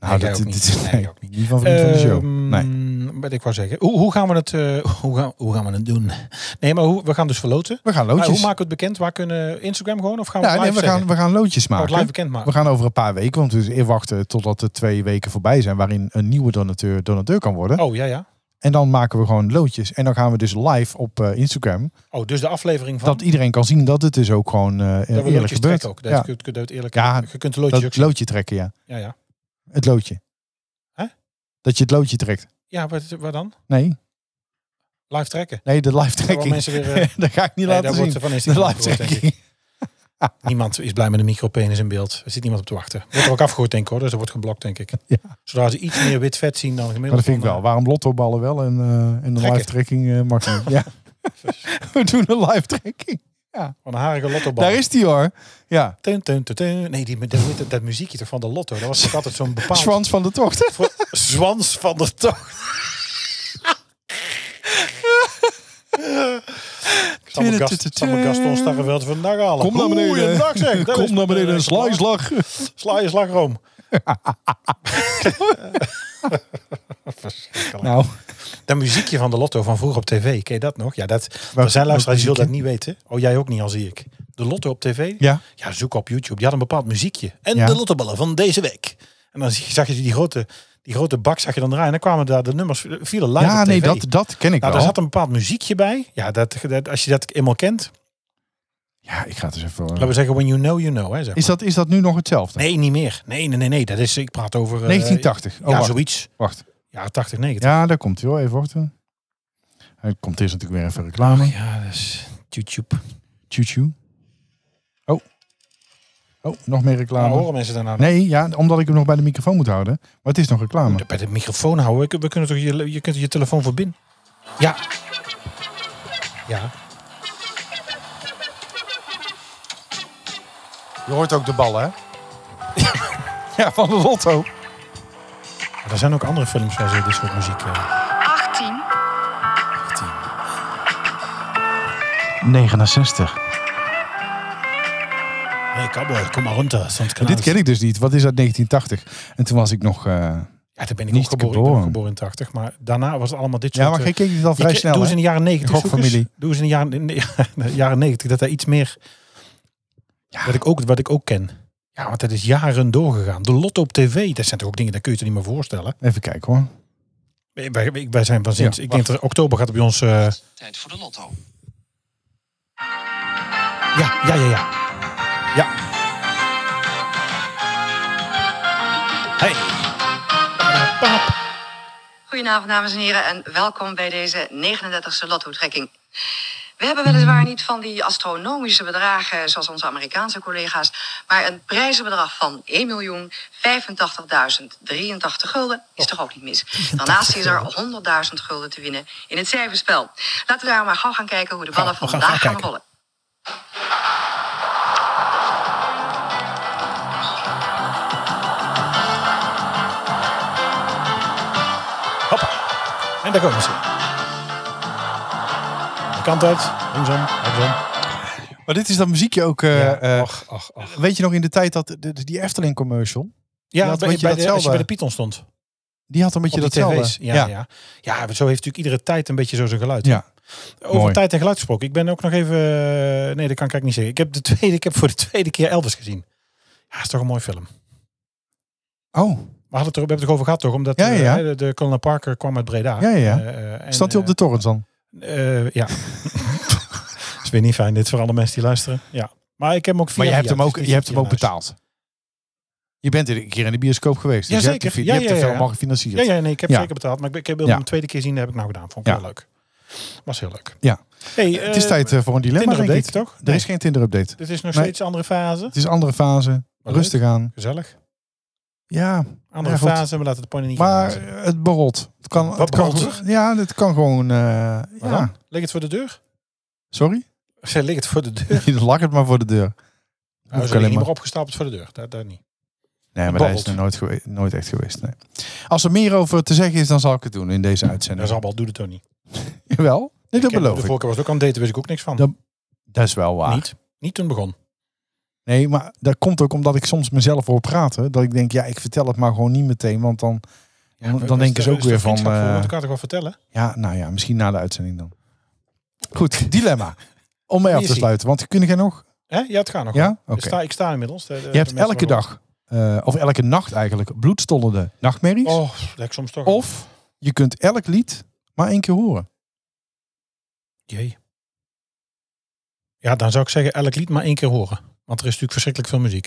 nou,
jij
dat,
ook
dit-
niet.
dit-
Nee,
nee,
ik ook niet.
niet van vriend van de show.
Ehm,
Nee.
Wat ik wou zeggen. Hoe, hoe gaan we het, eh, <laughs> hoe gaan, hoe gaan we het doen? Nee, maar hoe, we gaan dus verloten.
We gaan
Maar
loodjes.
hoe maken we het bekend? Waar kunnen Instagram gewoon? Of gaan we
Ja,
het
nee,
live
we, gaan,
zeggen?
we gaan loodjes
Gaan we het live
maken.
bekend maken?
We gaan over een paar weken, want we moeten dus wachten totdat de twee weken voorbij zijn waarin een nieuwe donateur donateur kan worden.
Oh, ja, ja.
En dan maken we gewoon loodjes. En dan gaan we dus live op eh, Instagram.
Oh, dus de aflevering van...
Dat iedereen kan zien dat het dus ook gewoon eh,
dat we
eerlijk
loodjes
gebeurt.
trekken ook. Dat
ja.
je kunt, kunt- dat eerlijk,
Ja,
je kunt de loodjes
Dat
ook zien.
loodje trekken, ja.
Ja, ja.
Het loodje.
Hè?
Dat je het loodje trekt.
Ja, wat, wat dan?
Nee,
Live trekken.
nee de live
Terwijl
<laughs> trekking.
mensen weer... eh,
dat ga ik niet
nee, daar
laten
wordt
zien.
ze van
De
Instagram
live
gehoord, denk ik.
trekking.
Niemand is blij met een micropenis in beeld. Er zit niemand op te wachten. Wordt er ook afgegooid, denk ik hoor. Dus dat wordt geblokt, denk ik.
<laughs> Ja.
Zodra ze iets meer wit vet zien dan
Maar
gemiddeld.
dat vind ik wel. Waarom lottoballen wel en, eh, en de
Trekken.
live trekking eh, mag niet?
<laughs>
Ja. We doen een live trekking.
eh, Van een harige lottobal.
Daar is die hoor. Ja.
Tun, tun, tun, tun. Nee, die, dat, dat, dat muziekje toch van de lotto. Dat was toch altijd
<laughs>
zo'n bepaald...
Schwans van de tocht.
voor- zwans van
<laughs>
de tocht. Ik zal mijn Gast, ik zal mijn Gaston Starreveld vandaag halen.
Kom naar beneden.
Goeiedag, zeg. Dat
<laughs>
is-
Kom naar beneden. Sla je
<laughs>
slag.
Sla je
<laughs>
slagroom. <laughs>
Nou,
Dat muziekje van de Lotto van vroeger op tv, ken je dat nog? Ja, dat,
Welk-
er zijn luisteraars die
welk
zullen dat niet weten. Oh, jij ook niet, al zie ik. De Lotto op tv?
Ja.
Ja, zoek op YouTube. Die had een bepaald muziekje. En
Ja.
de Lottoballen van deze week. En dan zie- zag je die grote, die grote bak zag je dan draaien. En dan kwamen daar de nummers, eh, vielen live
ja,
op tv.
nee, dat, dat ken ik
nou, daar
wel.
zat een bepaald muziekje bij. Ja, dat, dat, als je dat eenmaal kent.
Ja, ik ga het eens even...
Laten we zeggen, when you know, you know. Hè, zeg
Is dat, is dat nu nog hetzelfde?
maar. Nee, niet meer. Nee, nee, nee. nee. Dat is, ik praat over... eh,
1980. Oh,
ja,
wacht.
zoiets.
wacht.
Ja, 80, 90.
Ja, daar komt hij hoor. Even wachten. Er komt eerst natuurlijk weer even reclame.
Ja, dat is YouTube.
Tjoe tjoe. Oh. Oh, nog meer
Maar
reclame.
Nou, horen mensen daarna?
Nee, ja, omdat ik hem nog bij de microfoon moet houden. Maar het is nog reclame.
Bij de microfoon houden. Ik- We kunnen toch je, je kunt er je telefoon verbinden. Ja. Ja.
Je hoort ook de bal, hè? <laughs> ja, van de lotto.
Maar er zijn ook andere films waar ze dit soort muziek eh
18.
69.
Hey, cowboy, kom maar runter. Sonst kan
Dit ken ik dus niet. Wat is uit 1980? En toen was ik nog... eh,
Ja, toen ben ik
niet
ook geboren. Ik ben
geboren.
ook geboren in 80. Maar daarna was het allemaal dit soort...
Ja, maar
eh,
ik keek dit al
je
vrij
ke-
snel.
Doe
hè?
eens in de jaren 90
Gokfamilie.
zoekers. Doe eens in de jaren, in de- in <laughs> de jaren 90 dat daar iets meer... Wat, ik ook, wat ik ook ken. Ja, want dat is jaren doorgegaan. De lot op tv, dat zijn toch ook dingen, dat kun je je toch niet meer voorstellen.
Even kijken hoor.
Wij, wij- wij zijn van sinds,
Ja,
ik denk dat er- oktober gaat er bij ons... eh,
Tijd voor de lotto.
Ja, ja, ja, ja. Ja. Hey. Pap.
Goedenavond, dames en heren, en welkom bij deze 39e lotto-trekking. We hebben weliswaar niet van die astronomische bedragen zoals onze Amerikaanse collega's, maar een prijzenbedrag van 1.085.083 gulden is toch ook niet mis. Daarnaast is er 100.000 gulden te winnen in het cijferspel. Laten we daar maar gauw gaan kijken hoe de ballen
we
van
gaan
vandaag
gauw
gaan
kijken.
rollen.
Hoppa. En daar komen ze. De kant uit. Linksom. Linksom.
Maar dit is dat muziekje ook... eh,
ja,
eh,
ach, ach, ach.
weet je nog in de tijd dat de- de- die Efteling commercial...
Ja,
had een
bij,
beetje
bij de, als
datzelfde.
je bij de Python stond.
Die had een beetje
op die
datzelfde.
tv's. Ja, ja. Ja. zo heeft natuurlijk iedere tijd een beetje zo zijn geluid.
Ja.
Over
Mooi.
tijd en geluid gesproken. Ik ben ook nog even... eh, Nee, dat kan ik eigenlijk niet zeggen. Ik heb, de tweede, ik heb voor de tweede keer Elvis gezien. Ja, is toch een mooi film.
Oh,
We, hadden het er, we hebben het er over gehad, toch? Omdat
Ja, ja, ja.
eh, de, de Colonel Parker kwam uit Breda.
Ja, ja, ja.
Eh, eh, en,
staat hij op de torrent dan?
eh, eh,
<laughs>
ja. is weer niet fijn, dit voor alle mensen die luisteren. Ja. Maar ik heb hem ook via...
Maar je hebt
via,
hem
dus
ook,
niet
je hebt
via
hem ook
huis.
betaald. Je bent een keer in de bioscoop geweest. Dus je hebt de
Jazeker.
fi- je
Ja,
hebt
ja,
de
ja,
film
ja.
al gefinancierd.
Ja, ja, nee, ik heb
Ja.
zeker betaald. Maar ik, ik heb hem
Ja.
de tweede keer gezien, dat heb ik nou gedaan. Vond ik
Ja.
wel leuk. Was heel leuk.
Ja.
Hey,
Het is
eh,
tijd eh, voor een dilemma, denk ik.
Tinder-update, toch?
Er is geen Tinder-update.
Dit is nog
Nee.
steeds een andere fase.
Het is andere fase.
Maar
rustig aan.
Gezellig.
Ja,
Andere
Ja, goed.
fase, we laten de pony niet
maar
gaan.
het borrelt. Het kan,
Wat
het kan,
borrelt
ge- ja, het kan gewoon... eh,
Maar
ja.
dan? Ligt het voor de
<laughs>
deur? Nou,
Sorry?
Ze ligt het voor de deur.
<laughs> Je lak het maar voor de deur.
Nou,
ik
ze
alleen
ligt niet
maar.
meer opgestapeld voor de deur. Daar, daar niet.
Nee, maar
borrelt.
hij is er nooit, gewe- nooit echt geweest. Nee. Als er meer over te zeggen is, dan zal ik het doen in deze
Dat
uitzending.
is allemaal, doe het toch niet.
Jawel, nee, dat
Ik heb- De
beloof ik.
vorige keer was het ook aan het daten, wist ik ook niks van.
Dat- Dat is wel waar.
Niet. Niet toen begon.
Nee, maar dat komt ook omdat ik soms mezelf hoor praten. Dat ik denk, ja, ik vertel het maar gewoon niet meteen. Want dan, dan,
Is
dan denken
er-
ze ook
is er
weer van...
dus vriendschap voor?
eh,
Want ik kan toch wel vertellen?
ja, nou ja, misschien na de uitzending dan. Goed, dilemma. Om mee
Wie
af
is
te
die?
sluiten. Want kun jij nog?
Hè? Ja, het gaat nog wel.
Ja? Oké.
Ik, sta, ik sta inmiddels. eh, De- de- de
Je hebt
mensen
elke
worden-
dag, eh, of elke nacht eigenlijk, bloedstollende nachtmerries.
Oh, dat heb ik soms toch...
Of je kunt elk lied maar één keer horen.
Jee. Ja, dan zou ik zeggen elk lied maar één keer horen. Want er is natuurlijk verschrikkelijk veel muziek.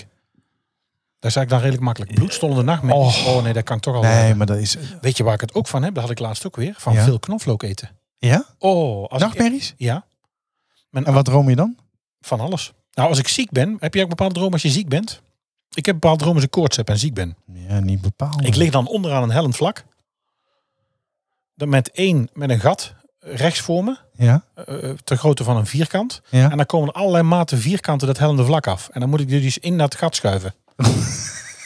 Dat is eigenlijk dan redelijk makkelijk. Bloedstollende nachtmerries.
Oh.
Oh. nee, dat kan ik toch al...
Nee,
hebben.
maar dat is...
Weet je waar ik het ook van heb? Dat had ik laatst ook weer. Van
Ja.
veel knoflook eten.
Ja?
Oh, als ik,
Nachtmerries?
ja,
En wat droom je dan?
van alles. Nou, als ik ziek ben, heb je ook bepaalde dromen als je ziek bent? Ik heb bepaalde dromen als ik koorts heb en ziek ben.
Ja, niet bepaald.
Ik lig dan onderaan een hellend vlak. Dan met één, met een gat rechts voor me,
Ja,
eh, ter grootte van een vierkant.
ja.
En dan komen er allerlei maten vierkanten dat hellende vlak af. En dan moet ik die dus in dat gat schuiven.
<laughs>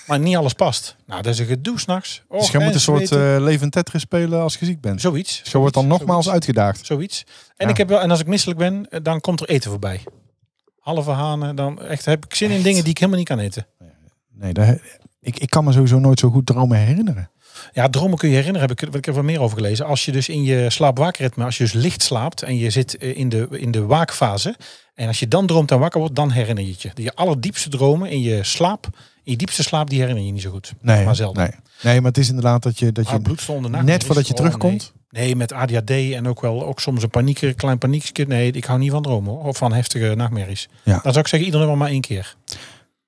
maar niet alles past. Nou, dat is een gedoe s'nachts. Oh,
dus jij moet een soort eh, levend Tetris spelen als je ziek bent.
zoiets.
Zo wordt dan nogmaals
zoiets.
uitgedaagd.
Zoiets. En,
Ja.
ik heb wel, en als ik misselijk ben, eh, dan komt er eten voorbij. Halve hanen, dan echt heb ik zin in dingen die ik helemaal niet kan eten.
Nee, daar- ik, ik kan me sowieso nooit zo goed dromen herinneren.
Ja, dromen kun je herinneren, heb ik, ik heb er wel meer over gelezen. Als je dus in je slaap-waakritme, als je dus licht slaapt en je zit eh, in de, in de waakfase. En als je dan droomt en wakker wordt, dan herinner je het je. Je allerdiepste dromen in je slaap, in je diepste slaap, die herinner je niet zo goed.
Nee,
maar zelden.
Nee. nee, maar het is inderdaad dat je... Dat
Maar
je
bloedstollende
net
nachten
voordat
is-
je
oh,
terugkomt?
Nee. Nee, met ADHD en ook wel ook soms een panieker, klein paniekje. Nee, ik hou niet van dromen hoor. Of van heftige nachtmerries.
Ja.
Dan zou ik zeggen, iedereen wel maar één keer.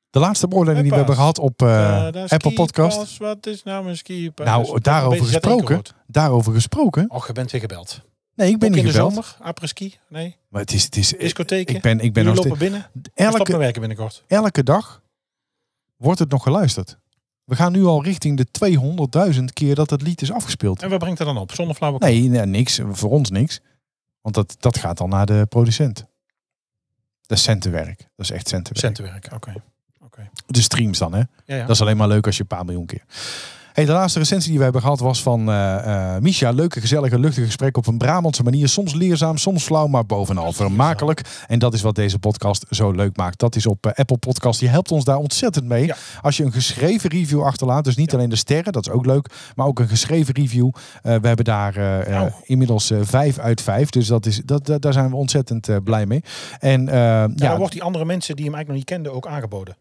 de laatste beoordeling die we hebben
Huppa's.
gehad op eh,
Eh, daar is
Apple
skipas,
Podcast.
Wat is nou een skipas?
Nou,
Dat is-
daarover
dat is een beetje- dat heb
gesproken.
ik gehoord.
Daarover gesproken.
Och, je bent weer gebeld.
Nee, ik ben
Ook
niet
in de
gebeld.
zomer, apres-ski, nee,
Maar het is, het is
discotheken.
ik ben, ik ben
Jullie
nog
lopen
steeds,
binnen. Elke... Stop met
elke,
werken binnenkort.
elke dag wordt het nog geluisterd. We gaan nu al richting de 200.000 keer dat het lied is afgespeeld.
En wat brengt dat dan op? Zonder flauwe
Nee, nee, niks. Voor ons niks. Want dat, dat gaat dan naar de producent. Dat is centenwerk. Dat is echt centenwerk.
centenwerk. Oké. Oké.
De streams dan, hè?
Ja, ja.
Dat is alleen maar leuk als je een paar miljoen keer. Hey, de laatste recensie die we hebben gehad was van eh eh Misha. Leuke, gezellige, luchtige gesprek op een Brabantse manier. Soms leerzaam, soms flauw, maar bovenal vermakelijk. En dat is wat deze podcast zo leuk maakt. Dat is op eh, Apple Podcast. Je helpt ons daar ontzettend mee.
Ja.
Als je een geschreven review achterlaat. Dus niet alleen de sterren, dat is ook leuk. Maar ook een geschreven review. Eh, we hebben daar eh, eh,
Nou.
inmiddels eh, vijf uit vijf. Dus dat is, dat, dat- daar zijn we ontzettend eh, blij mee. En eh,
Ja,
ja,
dan wordt die andere mensen die hem eigenlijk nog niet kenden ook aangeboden.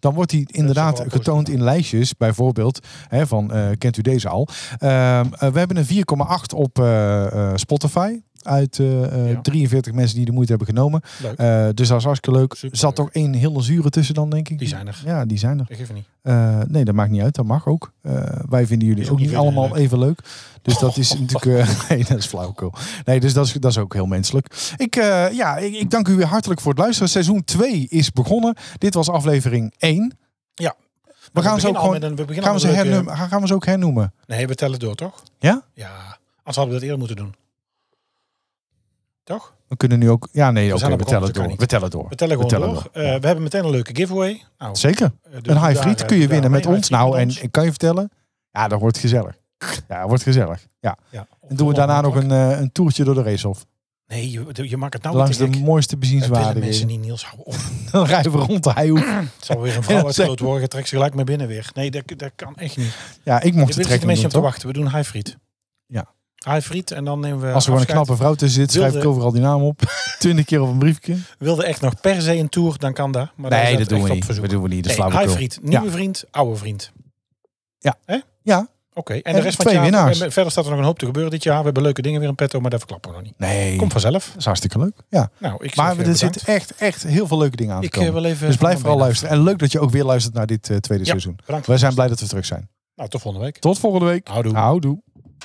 dan wordt die inderdaad
wel positief.
getoond in lijstjes. Bijvoorbeeld hè, van, eh, kent u deze al? Ehm, eh, we hebben een 4,8 op eh, eh, Spotify. Uit eh, eh,
Ja.
43 mensen die de moeite hebben genomen.
Leuk.
Eh, dus dat is hartstikke leuk.
Superleuk.
Zat toch één hele zure tussen dan, denk ik?
Die zijn er.
Ja, die zijn er.
Dat geeft niet.
Eh, nee, dat maakt niet uit. Dat mag ook. Eh, wij vinden jullie
Is
ook
ook
niet
niet Oh. iedereen
allemaal
leuk.
even leuk. Dus dat
<laughs>
is natuurlijk... eh, <laughs> nee, dat is flauwkul. Nee, dus dat is, dat is ook heel menselijk. Ik, eh, ja, ik, ik dank u weer hartelijk voor het luisteren. Seizoen 2 is begonnen. Dit was aflevering 1.
Ja.
We gaan
beginnen
ze ook
al
gewoon...
met een- we beginnen
Gaan we, ze
al met een leuke-
hernoemen, gaan we ze ook hernoemen?
Nee, we tellen door, toch?
Ja?
Ja. Anders hadden we dat eerder moeten doen. Toch?
We kunnen nu ook... Ja, nee, oké.
zijn al
we,
begonnen,
tellen
dus dat kan
door.
niet.
we tellen door.
We tellen gewoon door. Eh, we hebben meteen een leuke giveaway. Nou,
Zeker.
eh, dus
een
daar,
high friet
eh,
kun je
daar
winnen met
mee,
ons.
high
Nou,
friet
en
met ons.
ik kan je vertellen... Ja, dat wordt gezellig. Ja, dat wordt gezellig. Ja.
Ja.
En doen we daarna nog een, eh, een toertje door de racehof.
Nee, je, je maakt het nou
Langs
weer
de
te gek.
mooiste
Dat willen
bezienswaardigheden.
mensen niet, Mm. Niels. Hou op.
Dan rijden we rond de heijhoek.
Het zal weer een vrouw uit
zeg.
groot worden. Je Trekt ze gelijk mee binnen weer. Nee, dat, dat kan echt niet.
Ja, ik
Er
mocht de
zitten
trekking
mensen
doen,
op te
toch?
wachten. We doen high friet.
Ja.
High friet en dan nemen we
Als er gewoon een
afscheid.
knappe vrouw tussen zit, schrijf ik
Wilde-
overal die naam
<laughs>
op. Twintig keer op een briefje.
Wilde echt nog per se een tour, dan kan dat. Maar dan is
Nee, dat
dat
doen
echt
we
op
niet.
verzoek.
Dat doen we niet. Dat is
Nee,
flauwekul.
high vriend, nieuwe
Ja.
vriend, oude vriend.
Ja.
Hè? Oké,
Ja,
en de rest van
twee
het jaar.
winnaars.
en Verder staat er nog een hoop te gebeuren dit jaar. We hebben leuke dingen weer in petto, maar dat verklappen we nog niet.
nee.
Komt vanzelf.
Dat is hartstikke leuk. Ja.
Nou, ik
Maar
zeg,
er
eh, bedankt.
zitten echt, echt heel veel leuke dingen aan te
Ik eh,
komen.
wil even.
Dus blijf
van
vooral
mijn-
luisteren. En leuk dat je ook weer luistert naar dit eh, tweede
Ja,
seizoen.
bedankt.
Wij zijn blij dat we terug zijn.
Nou, tot volgende week.
Tot volgende week.
Houdoe.
Houdoe.